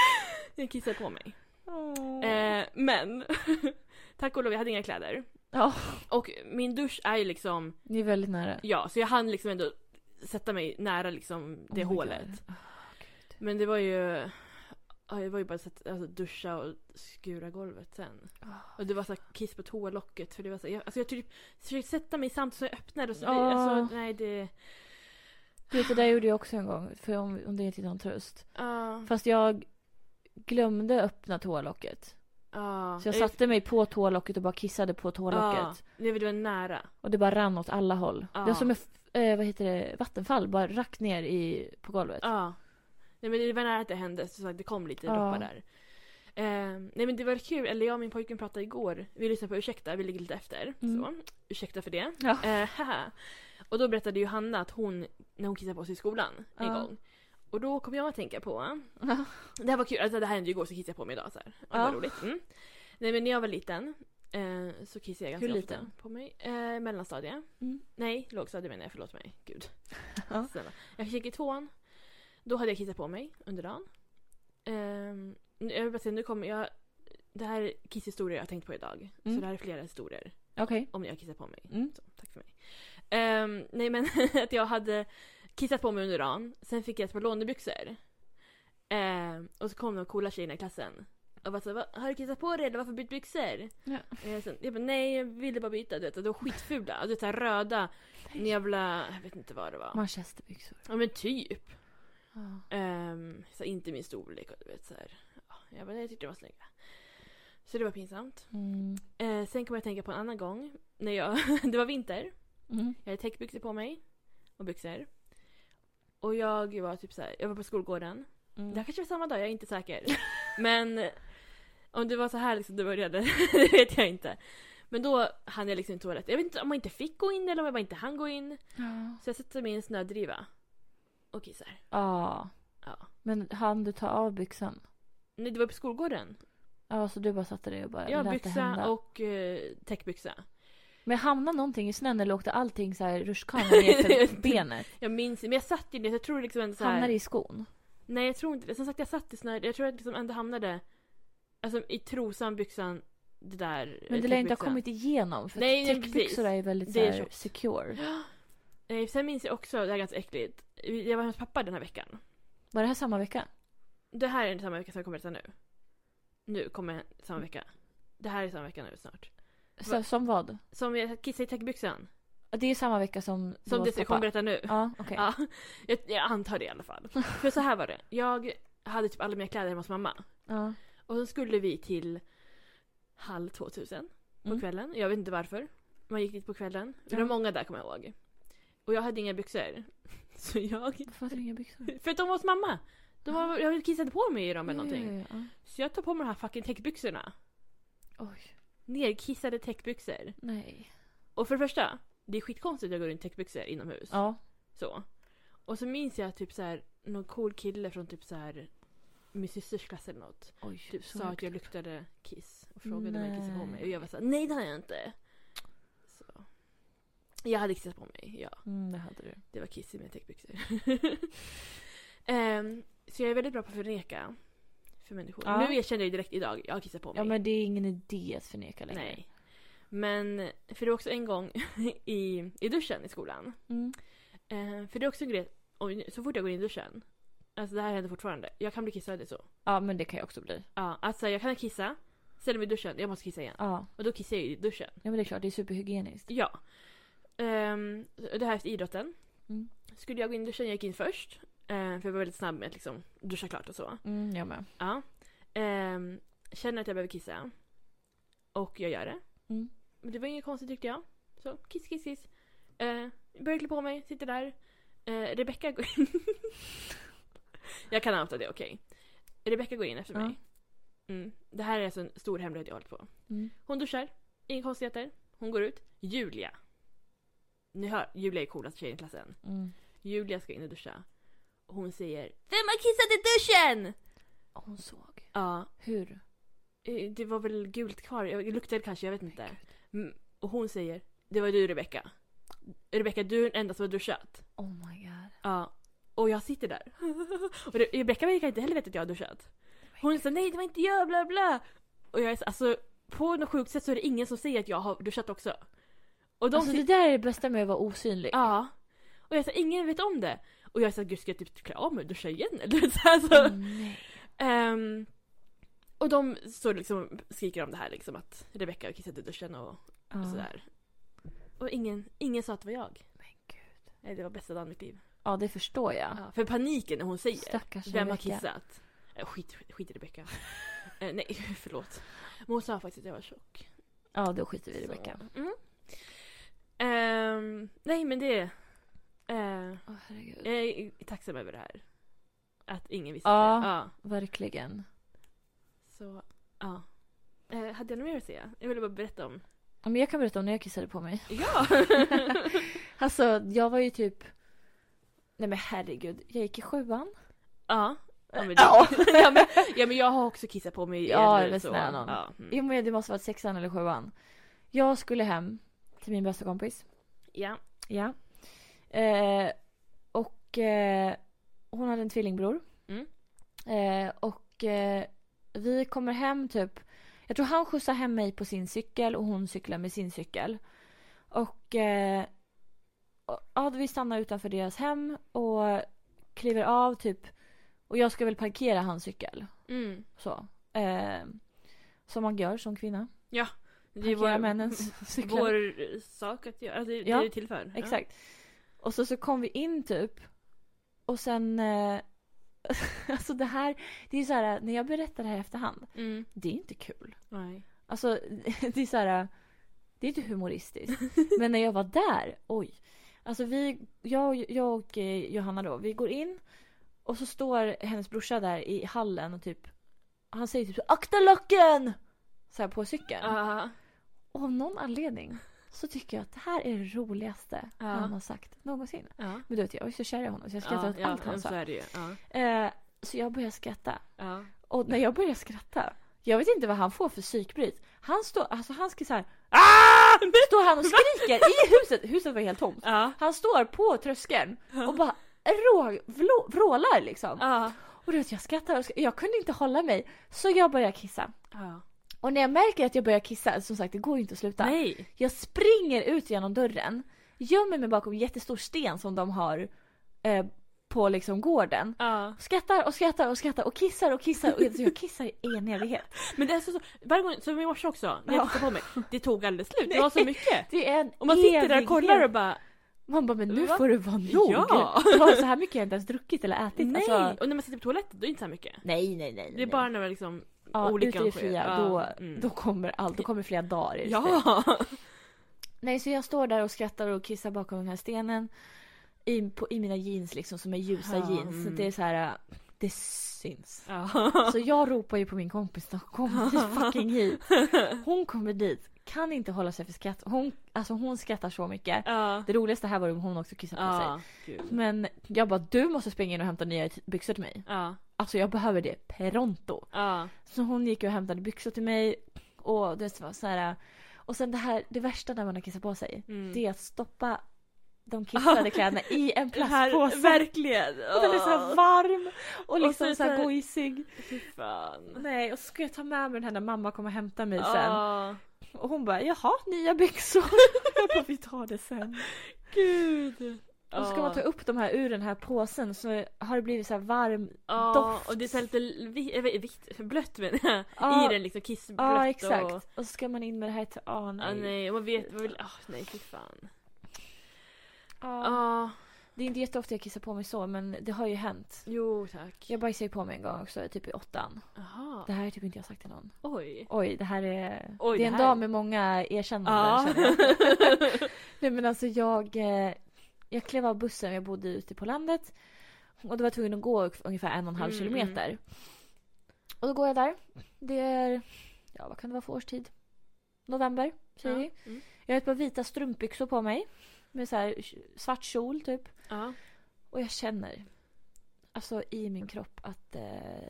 S2: jag kissar på mig.
S1: Åh.
S2: Eh, men, tack och lov jag hade inga kläder.
S1: Ja,
S2: Och min dusch är ju liksom,
S1: ni är väldigt nära.
S2: ja så jag hann liksom ändå sätta mig nära liksom det
S1: Oh my
S2: hålet.
S1: God. Ah,
S2: Men det var ju... Ja, det var ju bara att alltså, duscha och skura golvet sen. Och det var så här kiss på toalocket. För det var så här, jag, alltså jag typ försökte sätta mig samtidigt som jag öppnade och så...
S1: Ja.
S2: Alltså, nej det...
S1: Du vet, det där gjorde jag också en gång, för om, om det är till någon tröst.
S2: Ja.
S1: Fast jag glömde öppna toalocket.
S2: ja. eh.
S1: Så jag satte mig på toalocket och bara kissade på
S2: ah. Ja,
S1: toalocket.
S2: det var det var nära.
S1: Och det bara rann åt alla håll.
S2: Ja.
S1: Det var som ett eh, vad heter det, vattenfall, bara rakt ner i, på golvet.
S2: Ja. Nej men det var nära att det hände. Så sagt, det kom lite
S1: Ja.
S2: droppar där. Eh, nej men det var kul. Eller jag och min pojkvän pratade igår. Vi lyssnade på Ursäkta, vi ligger lite efter.
S1: Mm.
S2: Så. Ursäkta för det.
S1: Ja.
S2: Eh, haha. och då berättade ju Hanna att hon, när hon kissade på sig i skolan en
S1: Ja.
S2: gång. Och då kom jag att tänka på,
S1: Ja.
S2: det här var kul, alltså det här hände ju igår så kissade jag på mig idag så här. Och det var
S1: Ja.
S2: roligt. Mm. Nej men när jag var liten eh, så kissade jag ganska
S1: Hur
S2: ofta
S1: liten?
S2: på mig. Eh, mellanstadiet.
S1: Mm.
S2: Nej, lågstadiet menar jag, förlåt mig. Gud.
S1: Ja.
S2: Snälla. Jag gick i tvåan. Då hade jag kissat på mig under dagen. Ehm, nu- jag vill bara säga, nu kommer jag... Det här är kisshistorier jag har tänkt på idag.
S1: Mm.
S2: Så det här är flera historier
S1: Okej.
S2: om när jag kissat på mig.
S1: Mm.
S2: Så, tack för mig. Ehm, nej men att jag hade kissat på mig under dagen, sen fick jag ett par lånebyxor. Ehm, och så kom de coola tjejerna i klassen. Och bara så, "Va, har du kissat på dig eller varför bytt byxor?
S1: Ja.
S2: Och jag, sen, jag bara, nej jag ville bara byta, du vet, de var skitfula. Och Du vet, så här röda, jävla, jag vet inte vad det var.
S1: Manchesterbyxor.
S2: Ja men typ.
S1: Ja.
S2: Ehm, så inte min storlek och du vet så här. Ja, Jag bara, nej, jag tyckte de var snygga. Så det var pinsamt.
S1: Mm.
S2: Eh, sen kom jag att tänka på en annan gång. När jag, det var vinter.
S1: Mm.
S2: Jag hade täckbyxor på mig och byxor. Och jag var typ så här, jag var på skolgården.
S1: Mm.
S2: Det här kanske var samma dag, jag är inte säker. Men om det var så här liksom det började, det vet jag inte. Men då hann jag liksom inte toaletten. Jag vet inte om jag inte fick gå in eller om jag bara inte hann gå in.
S1: Ja.
S2: Så jag sätter mig i en snödriva och kissar.
S1: Ja.
S2: Ja.
S1: Men hann du ta av byxan?
S2: Nej, det var på skolgården.
S1: Ja, så du bara satte dig och bara
S2: Jag
S1: lät
S2: har
S1: det hända.
S2: byxa och eh, täckbyxa.
S1: Men hamnade någonting i snön eller åkte allting så här rutschkana ner för benet?
S2: Jag minns men jag satt ju ner, så jag tror liksom ändå Typ så här...
S1: Hamnade i skon?
S2: Nej jag tror inte det. Som sagt jag satt i snö. Jag tror att liksom ändå hamnade alltså, i trosan, byxan, det där. eh,
S1: Men det lär
S2: täckbyxan.
S1: inte ha kommit igenom för
S2: typ Nej,
S1: nej,
S2: nej, precis.
S1: täckbyxor är ju väldigt
S2: Det är
S1: så här,
S2: tjockt.
S1: secure.
S2: Nej, Eh, Sen minns jag också, det här är ganska äckligt. Jag var hos pappa den här veckan.
S1: Var det här samma vecka?
S2: Det här är inte samma vecka som jag kommer berätta nu. Nu kommer
S1: Mm.
S2: samma vecka. Det här är samma vecka nu snart.
S1: Så, som vad?
S2: Som jag kissade i täckbyxan.
S1: Ja, Det är samma vecka som du
S2: Som
S1: var
S2: det
S1: hos pappa.
S2: jag kommer berätta nu.
S1: Ja, okej.
S2: Ja, jag, jag antar det i alla fall. För så här var det. Jag hade typ alla mina kläder hemma hos mamma.
S1: Ja.
S2: Och så skulle vi till halv 2000 på
S1: Mm.
S2: kvällen. Jag vet inte varför. Man gick dit på kvällen. Det var
S1: Ja.
S2: många där kommer jag ihåg. Och jag hade inga byxor. Så jag...
S1: Varför hade du inga byxor?
S2: För att de var hos mamma. De var, jag kissade på mig i dem eller
S1: Ah. Ja,
S2: någonting.
S1: ja, ja,
S2: Så jag tar på mig de här fucking täckbyxorna.
S1: ja. Oj,
S2: Nerkissade täckbyxor.
S1: nej.
S2: Och för det första, det är skitkonstigt att jag går runt i täckbyxor inomhus.
S1: Ja.
S2: Så. Och så minns jag typ så här, någon cool kille från typ så här min systers klass eller något.
S1: Oj,
S2: typ
S1: så
S2: sa att
S1: högt.
S2: jag luktade kiss och frågade om jag kissade på mig.
S1: Nej.
S2: Och jag var såhär, nej det har jag inte. Så. Jag hade kissat på mig, ja.
S1: Mm, det hade du.
S2: Det var kiss i mina täckbyxor. Ehm, så jag är väldigt bra på att förneka för människor.
S1: Ja.
S2: Nu erkänner jag ju direkt idag, jag har kissat på mig.
S1: Ja, men det är ingen idé att förneka längre.
S2: nej. Men, för det var också en gång i, i duschen i skolan.
S1: Mm.
S2: Ehm, för det är också en grej, oj, så fort jag går in i duschen, alltså det här händer fortfarande, jag kan bli kissnödig så.
S1: Ja, men det kan jag också bli.
S2: Ja, alltså jag kan kissa, ställer mig i duschen, jag måste kissa igen.
S1: Ja.
S2: Och då kissar jag ju i duschen.
S1: ja, men det är klart. Det är superhygieniskt.
S2: Ja. Ehm, och det här efter idrotten.
S1: Mm.
S2: Skulle jag gå in i duschen, jag gick in först. ehm, för jag var väldigt snabb med att liksom duscha klart och så.
S1: Mm, jag med.
S2: Ja. Ehm, känner att jag behöver kissa. Och jag gör det.
S1: Mm.
S2: Men det var inget konstigt tyckte jag. Så kiss, kiss, kiss. Uh, börjar klä på mig, sitter där. Uh, Rebecka går in. jag kan anta det, okej. Rebecka går in efter
S1: Ja.
S2: mig. Mm. Det här är alltså en stor hemlighet jag har hållit på.
S1: Mm.
S2: Hon duschar, inga konstigheter. Hon går ut. Julia. Ni hör, Julia är coolast tjejen i klassen.
S1: Mm.
S2: Julia ska in och duscha. Och hon säger Vem har kissat i duschen?
S1: Hon såg.
S2: Ja.
S1: Hur?
S2: Eh, Det var väl gult kvar. Jag- Det luktade kanske, jag vet inte.
S1: Gud.
S2: Mm, Och hon säger, det var du Rebecka. Rebecka, du är den enda som har duschat.
S1: Oh my god.
S2: Ja. Och jag sitter där. Och Re- Rebecka verkar inte heller veta att jag har duschat. Hon sa nej det var inte jag bla bla. Och jag är så, alltså på något sjukt sätt så är det ingen som säger att jag har duschat också. Och de
S1: alltså det
S2: sit-
S1: där är det bästa med att vara osynlig.
S2: Ja. Och jag sa ingen vet om det. Och jag sa gud ska jag typ klä av mig och duscha igen eller så här, så.
S1: Åh, nej.
S2: Ehm, och de står liksom skriker om det här liksom att Rebecca har kissat i duschen och,
S1: Ja.
S2: och sådär. Och ingen, ingen sa att det var jag.
S1: Men gud.
S2: Nej det var bästa dagen i mitt liv.
S1: Ja, det förstår jag.
S2: Ja, För paniken när hon säger
S1: Stackars
S2: Vem har
S1: Rebecca.
S2: kissat? Eh, Skit, skit i Rebecka. Eh, nej, förlåt. Men hon sa faktiskt att jag var tjock.
S1: Ja, då skiter vi Typ i Rebecka.
S2: Så, Mm. Ehm, nej, men det... eh,
S1: Åh herregud.
S2: jag är tacksam över det här. Att ingen visste.
S1: Ja.
S2: det. ja.
S1: Verkligen.
S2: Så, ja. Eh, hade jag något mer att säga? Jag ville bara berätta om...
S1: Ja, Men jag kan berätta om när jag kissade på mig.
S2: Ja!
S1: Alltså, jag var ju typ... Nej men herregud, jag gick i sjuan.
S2: ja. Ja men, det,
S1: Ja.
S2: ja. ja, men, ja men jag har också kissat på mig.
S1: Ja,
S2: eller
S1: eller
S2: så.
S1: snälla nån.
S2: Ja. Mm.
S1: Jo men det måste ha varit sexan eller sjuan. Jag skulle hem till min bästa kompis.
S2: ja.
S1: Ja. Eh, och eh, hon hade en tvillingbror.
S2: Mm.
S1: Eh, och eh, vi kommer hem typ. Jag tror han skjutsar hem mig på sin cykel och hon cyklar med sin cykel. Och eh, och- ja, vi stannar utanför deras hem och kliver av typ. Och jag ska väl parkera hans cykel.
S2: Mm.
S1: Så. Eh, som man gör som kvinna.
S2: Det
S1: Parkera
S2: var
S1: männens cyklar.
S2: vår eh, sak att göra. Alltså, det
S1: Ja,
S2: är till för. Ja.
S1: Exakt. Och så, så kom vi in typ. Och sen... Eh, alltså det här, det är ju så här, när jag berättar det här i efterhand,
S2: Mm.
S1: det är inte kul.
S2: Nej.
S1: Alltså det är så här, det är inte humoristiskt. Men när jag var där, oj. Alltså vi, jag, och- jag och eh, Johanna då, vi går in och så står hennes brorsa där i hallen och typ, han säger typ akta locken! Så här på cykeln.
S2: Ja.
S1: Och av någon anledning så tycker jag att det här är det roligaste
S2: Ja.
S1: han har sagt någonsin.
S2: Ja.
S1: Men du vet, jag var ju så kär i honom så jag skrattade åt
S2: ja,
S1: allt alltså? han
S2: men Så
S1: sa.
S2: är det ju. Ja.
S1: Eh, så jag började skratta.
S2: Ja.
S1: Och när jag började skratta, jag vet inte vad han får för psykbryt. Han står, alltså han ska så här, "Ah!" Står han och skriker i huset, huset var helt tomt.
S2: Ja.
S1: Han står på tröskeln och bara rå, vrå, vrålar liksom.
S2: Ja.
S1: Och du vet jag skrattar och sk- jag kunde inte hålla mig. Så jag började kissa.
S2: ja.
S1: Och när jag märker att jag börjar kissa, som sagt det går ju inte att sluta.
S2: Nej.
S1: Jag springer ut genom dörren, gömmer mig bakom en jättestor sten som de har eh, på liksom gården.
S2: Ja.
S1: Skrattar och skrattar och skrattar och kissar och kissar och alltså, jag kissar i en evighet.
S2: Men det är så, så varje gång, som i morse också, när jag
S1: Ja.
S2: tittade på mig, det tog aldrig slut. Det
S1: Nej.
S2: var så mycket.
S1: Det är en
S2: Och man sitter där
S1: evighet.
S2: och kollar och bara
S1: Man bara men nu
S2: Va?
S1: får du vara nog.
S2: Ja.
S1: Jag har så här mycket jag inte ens druckit eller ätit.
S2: nej.
S1: Alltså,
S2: Och när man sitter på toaletten då är det inte så här mycket.
S1: nej, nej, nej.
S2: Det är bara när man liksom
S1: ja, ute
S2: olika
S1: i det
S2: sker.
S1: fria,
S2: Ja,
S1: då,
S2: mm.
S1: då kommer allt. Då kommer flera dagar i det fria.
S2: Ja!
S1: Nej, så jag står där och skrattar och kissar bakom den här stenen. I, på, i mina jeans liksom som är ljusa
S2: Ja,
S1: jeans. Så
S2: mm.
S1: det är så här, äh, det syns.
S2: Ja.
S1: Så jag ropar ju på min kompis då, kom fucking hit. Hon kommer dit, kan inte hålla sig för skratt. Hon, alltså hon skrattar så mycket.
S2: Ja.
S1: Det roligaste här var ju om hon också kissade på sig.
S2: Ja. Gud.
S1: Men jag bara, du måste springa in och hämta nya t- byxor till mig.
S2: Ja.
S1: Alltså jag behöver det pronto.
S2: Ja.
S1: Så hon gick och hämtade byxor till mig. Och det var så här. Och sen det här, det värsta när man har kissat på sig.
S2: Mm.
S1: Det är att stoppa de kissade kläderna i en
S2: Det här-
S1: plastpåse.
S2: Verkligen!
S1: Och den är så här varm och
S2: Och
S1: liksom
S2: så är
S1: så här
S2: det-
S1: gojsig.
S2: Fy fan.
S1: Nej, och så ska jag ta med mig den här när mamma kommer hämta mig sen.
S2: Ja.
S1: Och hon bara, jaha, nya byxor. jag bara, vi tar det sen.
S2: Gud!
S1: Och så ska man ta upp de här ur den här påsen så har det blivit så här varm.
S2: Ja,
S1: doft.
S2: och det är så här lite vi, eh, vitt, blött menar jag.
S1: Ja.
S2: I den liksom kissblött
S1: Ja, exakt.
S2: och...
S1: Och... så ska man in med det här till, ah,
S2: Ja,
S1: nej.
S2: nej, och man vet, man vill, ah nej fy fan. Ja,
S1: Ja. Det är inte jätteofta jag kissar på mig så men det har ju hänt.
S2: jo tack.
S1: Jag bajsade ju på mig en gång också, typ i åttan.
S2: Jaha,
S1: Det här har typ inte jag sagt till någon.
S2: oj.
S1: Oj, det här är...
S2: Oj,
S1: det är
S2: det
S1: en
S2: här-
S1: dag med många erkännanden
S2: Ja.
S1: känner Mm. jag. Nej men alltså jag, eh, jag klev av bussen, jag bodde ute på landet. Och då var jag tvungen att gå ungefär en och en halv
S2: Mm,
S1: kilometer. Och då går jag där. Det är, ja vad kan det vara för årstid? November, säger vi.
S2: Mm.
S1: Jag har ett par vita strumpbyxor på mig. Med så här svart kjol typ.
S2: Ja.
S1: Och jag känner alltså, i min kropp att eh,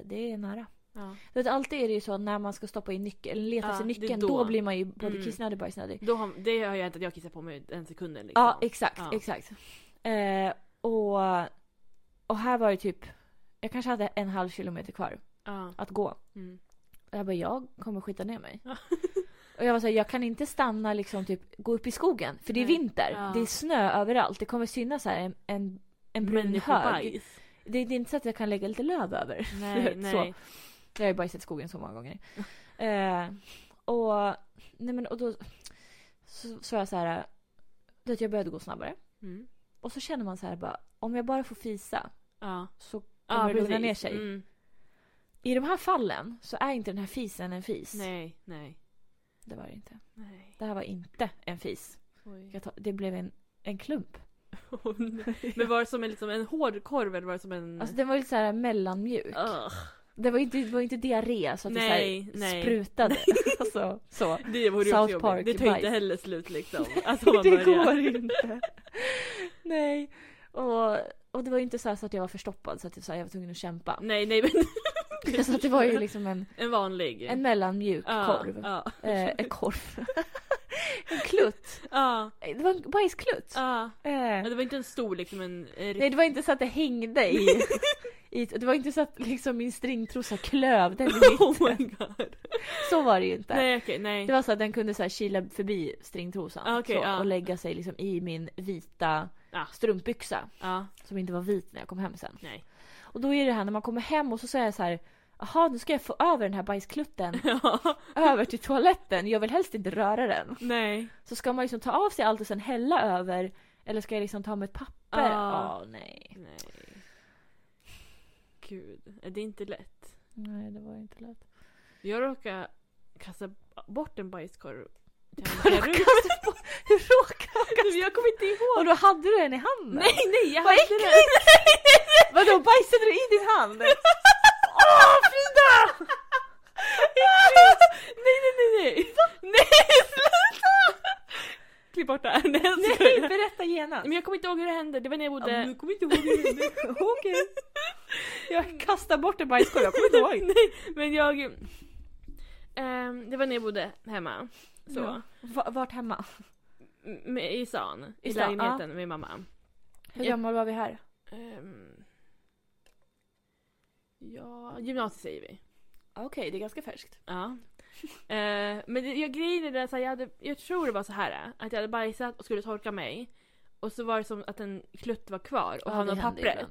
S1: det är nära.
S2: Ja.
S1: Du vet, alltid är det ju så att när man ska stoppa in nyckeln, eller leta
S2: Ja,
S1: efter
S2: det är
S1: nyckeln, då.
S2: då.
S1: blir man ju både
S2: Mm.
S1: kissnödig och bajsnödig.
S2: Då har, det har jag hänt att jag kissar på mig en sekund liksom.
S1: Ja, exakt,
S2: Ja.
S1: exakt. Eh, och, och här var det typ, jag kanske hade en halv kilometer kvar
S2: ja.
S1: att gå.
S2: Mm.
S1: Och jag bara, jag kommer skita ner mig.
S2: Ja.
S1: och jag var såhär, jag kan inte stanna liksom typ, gå upp i skogen. För det är
S2: Nej.
S1: vinter,
S2: Ja.
S1: det är snö överallt. Det kommer synas här en, en, en brun hög.
S2: Människobajs.
S1: Det, det är inte så att jag kan lägga lite löv över.
S2: Nej,
S1: Så.
S2: nej.
S1: Jag har ju bajsat i skogen så många gånger. eh, och, nej men, och då så, så var jag så här, du vet, jag började gå snabbare.
S2: Mm.
S1: Och så känner man så här bara, om jag bara får fisa
S2: Ja.
S1: så kommer
S2: Ja,
S1: det lugna
S2: precis.
S1: ner sig.
S2: Mm.
S1: I de här fallen så är inte den här fisen en fis.
S2: Nej, nej.
S1: Det var det inte.
S2: nej.
S1: Det här var inte en fis.
S2: Oj.
S1: Jag tar, det blev en, en klump.
S2: Men var det som en, liksom en hård korv eller var det som en...
S1: Alltså den var lite så här mellanmjuk.
S2: Ugh.
S1: Det var ju inte, det var ju inte diarré så att
S2: Nej,
S1: det så här
S2: nej.
S1: sprutade. Alltså, så.
S2: Det vore ju
S1: South
S2: också
S1: Park
S2: jobbigt. Det tar inte
S1: bajs.
S2: heller slut liksom. Alltså, man
S1: det
S2: börjar.
S1: går inte. Nej. Och, och det var ju inte så, här så att jag var förstoppad så att så här, jag var tvungen att kämpa.
S2: Nej, nej men.
S1: Så att det var ju liksom en,
S2: En vanlig.
S1: en mellanmjuk
S2: Mm. ja,
S1: korv.
S2: Ja.
S1: Eh, en korv. en klutt.
S2: Ja.
S1: Det var en bajsklutt.
S2: ja.
S1: Eh.
S2: Men Det var inte en stor liksom en... en
S1: Nej det var inte så att det hängde i, i det var inte så att liksom min stringtrosa klöv den i
S2: Oh
S1: mitten.
S2: my god.
S1: Så var det ju inte.
S2: Nej okej, nej.
S1: Det var så att den kunde så här kila förbi stringtrosan
S2: Ah, okej,
S1: så,
S2: ja.
S1: och lägga sig liksom i min vita
S2: Ah.
S1: strumpbyxa
S2: Ja.
S1: som inte var vit när jag kom hem sen.
S2: Nej.
S1: Och då är det här när man kommer hem och så säger jag så här Jaha, nu ska jag få över den här bajsklutten
S2: Ja.
S1: över till toaletten. Jag vill helst inte röra den.
S2: Nej.
S1: Så ska man liksom ta av sig allt och sen hälla över. Eller ska jag liksom ta med ett papper? Ja,
S2: Ah.
S1: nej.
S2: Nej. Gud. Det är inte lätt.
S1: Nej, det var inte lätt.
S2: Jag råkade kasta bort en bajskorv. till
S1: Hur
S2: andra rummet.
S1: råkar på? Hur råkar
S2: Jag kommer inte ihåg.
S1: Och då hade du den i handen?
S2: Nej, nej, jag
S1: Vad
S2: hade
S1: äckligt!
S2: den.
S1: Vadå bajsade du i din hand? Åh Frida!
S2: Nej, nej, nej, nej. Nej, sluta! Klipp bort det här. Nej, jag
S1: Nej
S2: skojar.
S1: berätta genast!
S2: Men jag kommer inte ihåg hur det hände. Det var när jag bodde...
S1: kommer inte ihåg det Okej. Jag kastar bort en bajskorv, jag kommer inte ihåg.
S2: Nej, men jag... Ehm, det var när jag bodde hemma. Så.
S1: Ja. Va- Vart hemma?
S2: M- med- I stan. I,
S1: I stan,
S2: lägenheten med mamma.
S1: Hur
S2: Ja.
S1: gammal var vi här?
S2: Ehm, ja, gymnasiet säger vi.
S1: Okej, det är ganska färskt.
S2: Ja. Eh, men det, jag, grejen är det att så här, jag, hade, jag tror det var så här eh, att jag hade bajsat och skulle torka mig. Och så var det som att en klutt var kvar och hamnade på pappret.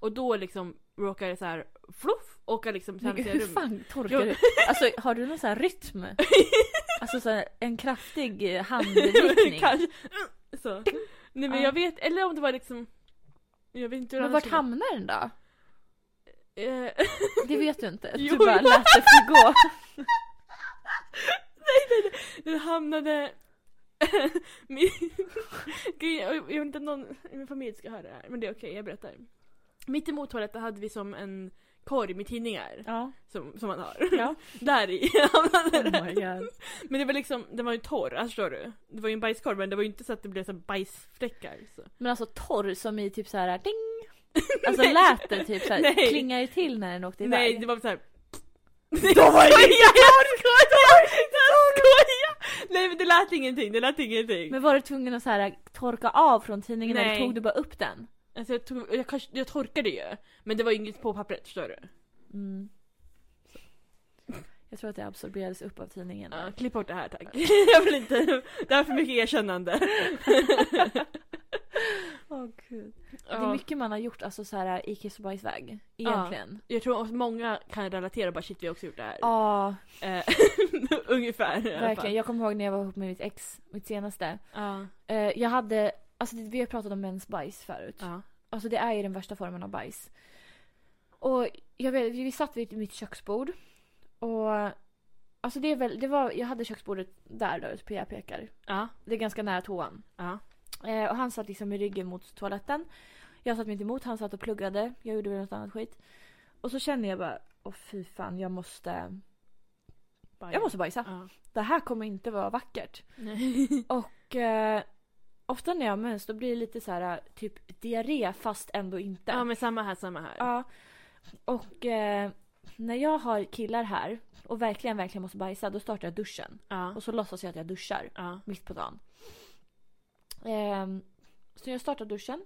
S2: Och då liksom råkade det så här fluff åka liksom till
S1: Men
S2: andra
S1: gud,
S2: sidan
S1: hur
S2: rummet.
S1: fan torkar
S2: Jo.
S1: du? Alltså har du någon sån här rytm? Alltså så här, en kraftig eh, handvickning?
S2: Kanske. Så. Nej men
S1: Ja.
S2: jag vet, eller om det var liksom... Jag vet inte hur
S1: Men
S2: annars
S1: vart hamnar den då?
S2: skulle- Eh,
S1: Det vet du inte. Du
S2: Jo.
S1: bara lät det förgå.
S2: Den hamnade... min... Gud, jag, jag vill inte att någon i min familj ska höra det här, men det är okej, jag berättar. Mitt emot toaletten hade vi som en korg med tidningar
S1: Ja.
S2: som, som man har.
S1: Ja.
S2: Där i hamnade
S1: Oh my
S2: den.
S1: god.
S2: Men det var liksom, den var ju torr, alltså förstår du? Det var ju en bajskorv men det var ju inte så att det blev så här bajsfläckar. Så.
S1: Men alltså torr som i typ så här ding. Alltså lät det typ så här,
S2: Nej.
S1: klingar ju till när den åkte iväg.
S2: Nej, det var så här.
S1: Då var det inte
S2: Jag skojar! Jag skojar! Nej men det lät ingenting, det lät ingenting.
S1: Men var du tvungen att så här, torka av från tidningen eller
S2: Nej.
S1: tog du bara upp den?
S2: Alltså jag, tog, jag, kanske, jag torkade ju. Men det var ju inget på pappret, förstår du?
S1: Mm. Jag tror att det absorberades upp av tidningen.
S2: Ja,
S1: där.
S2: klipp bort det här tack. Jag vill inte, det här är för mycket erkännande.
S1: Åh, gud. Det är
S2: Ja,
S1: mycket man har gjort alltså, så här, i kiss och bajsväg. Egentligen.
S2: jag tror att många kan relatera bara shit vi har också gjort det här.
S1: Ja,
S2: Eh, Ungefär i alla
S1: verkligen.
S2: fall.
S1: Jag kommer ihåg när jag var ihop med mitt ex, mitt senaste.
S2: Ja,
S1: Eh, jag hade, alltså vi har pratat om mäns bajs förut.
S2: ja.
S1: Alltså det är ju den värsta formen av bajs. Och jag vet, vi satt vid mitt köksbord. Och alltså det är väl, det var, jag hade köksbordet där då, ute på jag pekar.
S2: ja.
S1: Det är ganska nära toan.
S2: ja.
S1: Eh, och han satt liksom med ryggen mot toaletten. Jag satt mitt emot, han satt och pluggade. Jag gjorde väl något annat skit. Och så känner jag bara, åh fy fan jag måste,
S2: Bajs.
S1: jag måste bajsa.
S2: Ja.
S1: Det här kommer inte vara vackert.
S2: Nej.
S1: Och eh, Ofta när jag har mens då blir det lite så här typ diarré fast ändå inte.
S2: Ja men samma här, samma här.
S1: Ja. Och eh, när jag har killar här och verkligen, verkligen måste bajsa då startar jag duschen.
S2: Ja.
S1: Och så låtsas jag att jag duschar
S2: ja.
S1: mitt på dagen. Ehm, så jag startar duschen.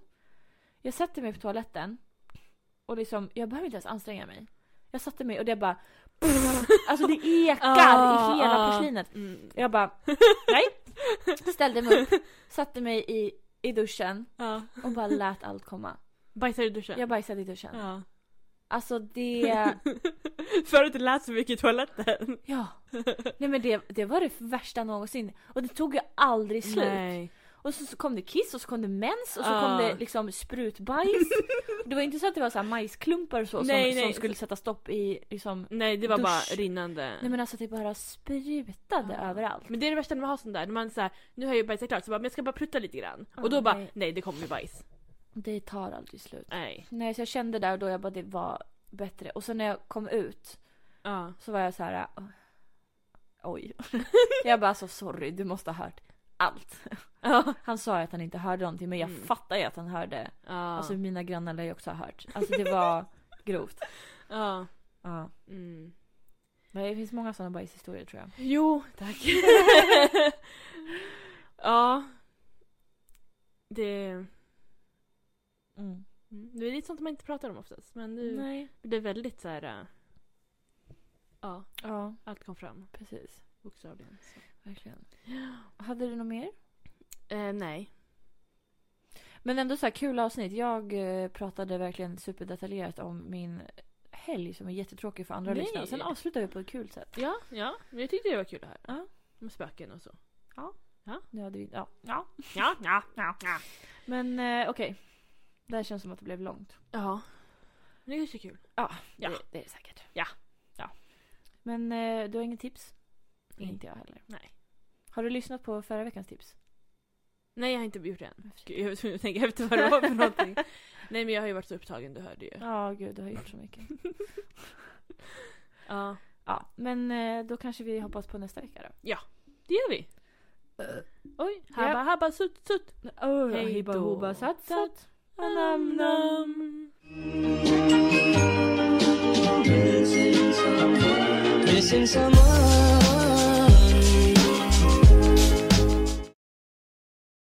S1: Jag sätter mig på toaletten. Och liksom, jag behöver inte ens anstränga mig. Jag satte mig och det bara... alltså det ekar
S2: Ah,
S1: i hela
S2: ah.
S1: porslinet.
S2: Mm.
S1: Jag bara, nej. Ställde mig upp, satte mig i, i duschen
S2: ja.
S1: och bara lät allt komma.
S2: Bajsar i duschen?
S1: Jag bajsade i duschen.
S2: Ja.
S1: Alltså det...
S2: Förut lät så mycket i toaletten.
S1: Ja. Nej men det, det var det värsta någonsin. Och det tog ju aldrig slut.
S2: Nej. Ah.
S1: Och så, så kom det kiss och så kom det mens och så
S2: Ja.
S1: kom det liksom sprutbajs. Det var inte så att det var så här majsklumpar och så
S2: Nej,
S1: som, som
S2: nej.
S1: skulle sätta stopp i liksom.
S2: Nej det var
S1: Dusch.
S2: bara rinnande.
S1: Nej men alltså det bara sprutade
S2: Ja.
S1: överallt.
S2: Men det är det värsta när man har sånt där, när man säger nu har jag ju bajsat klart så bara, men jag ska bara prutta lite grann. och då
S1: Ja,
S2: bara,
S1: nej.
S2: nej. det kommer ju bajs.
S1: Det tar aldrig slut.
S2: Nej.
S1: Nej så jag kände där och då jag bara det var bättre. Och sen när jag kom ut
S2: Ja.
S1: så var jag så här. "Åh, Oj. jag bara alltså sorry du måste ha hört allt.
S2: Ja.
S1: Han sa ju att han inte hörde någonting men jag
S2: Mm.
S1: fattar ju att han hörde.
S2: Ja.
S1: Alltså mina grannar lär ju också ha hört. Alltså det var grovt.
S2: ja.
S1: Ja.
S2: Mm.
S1: Men det finns många sådana bajshistorier tror jag.
S2: Jo, tack. ja. Det,
S1: Mm.
S2: det är lite sånt man inte pratar om oftast. Men nu
S1: Nej.
S2: blir det väldigt så här. äh, Ja,
S1: Ja,
S2: allt kom fram
S1: precis.
S2: bokstavligen. Så.
S1: Verkligen. Hade du något mer?
S2: Eh, nej.
S1: Men ändå så här kul avsnitt. Jag eh, pratade verkligen superdetaljerat om min helg som är jättetråkig för andra
S2: Nej.
S1: lyssnare. Sen avslutar vi på ett kul sätt.
S2: Ja, ja. Men jag tyckte det var kul det här.
S1: Ja.
S2: Med spöken och så.
S1: Nu hade vi, ja. ja.
S2: Ja, ja, ja, ja.
S1: Men eh, okej. Det här känns som att det blev långt.
S2: Ja. Men Det kanske är kul. Ja.
S1: Det, det är det säkert.
S2: Ja.
S1: ja. Men eh, du har inget tips?
S2: Nej.
S1: Inte jag heller.
S2: Nej.
S1: Har du lyssnat på förra veckans tips?
S2: Nej, jag har inte gjort det än. Gud, jag var tvungen att tänka efter vad det var för någonting. Nej, men jag har ju varit så upptagen, du hörde ju.
S1: Ja, gud du har gjort så mycket.
S2: Ja.
S1: ja, men eh, då kanske vi hoppas på nästa vecka då.
S2: Det gör vi. Oj, habba habba sutt sutt.
S1: Oh,
S2: Hej
S1: hej
S2: då.
S1: då. Satsat.
S2: Nam nam.
S3: Missing someone.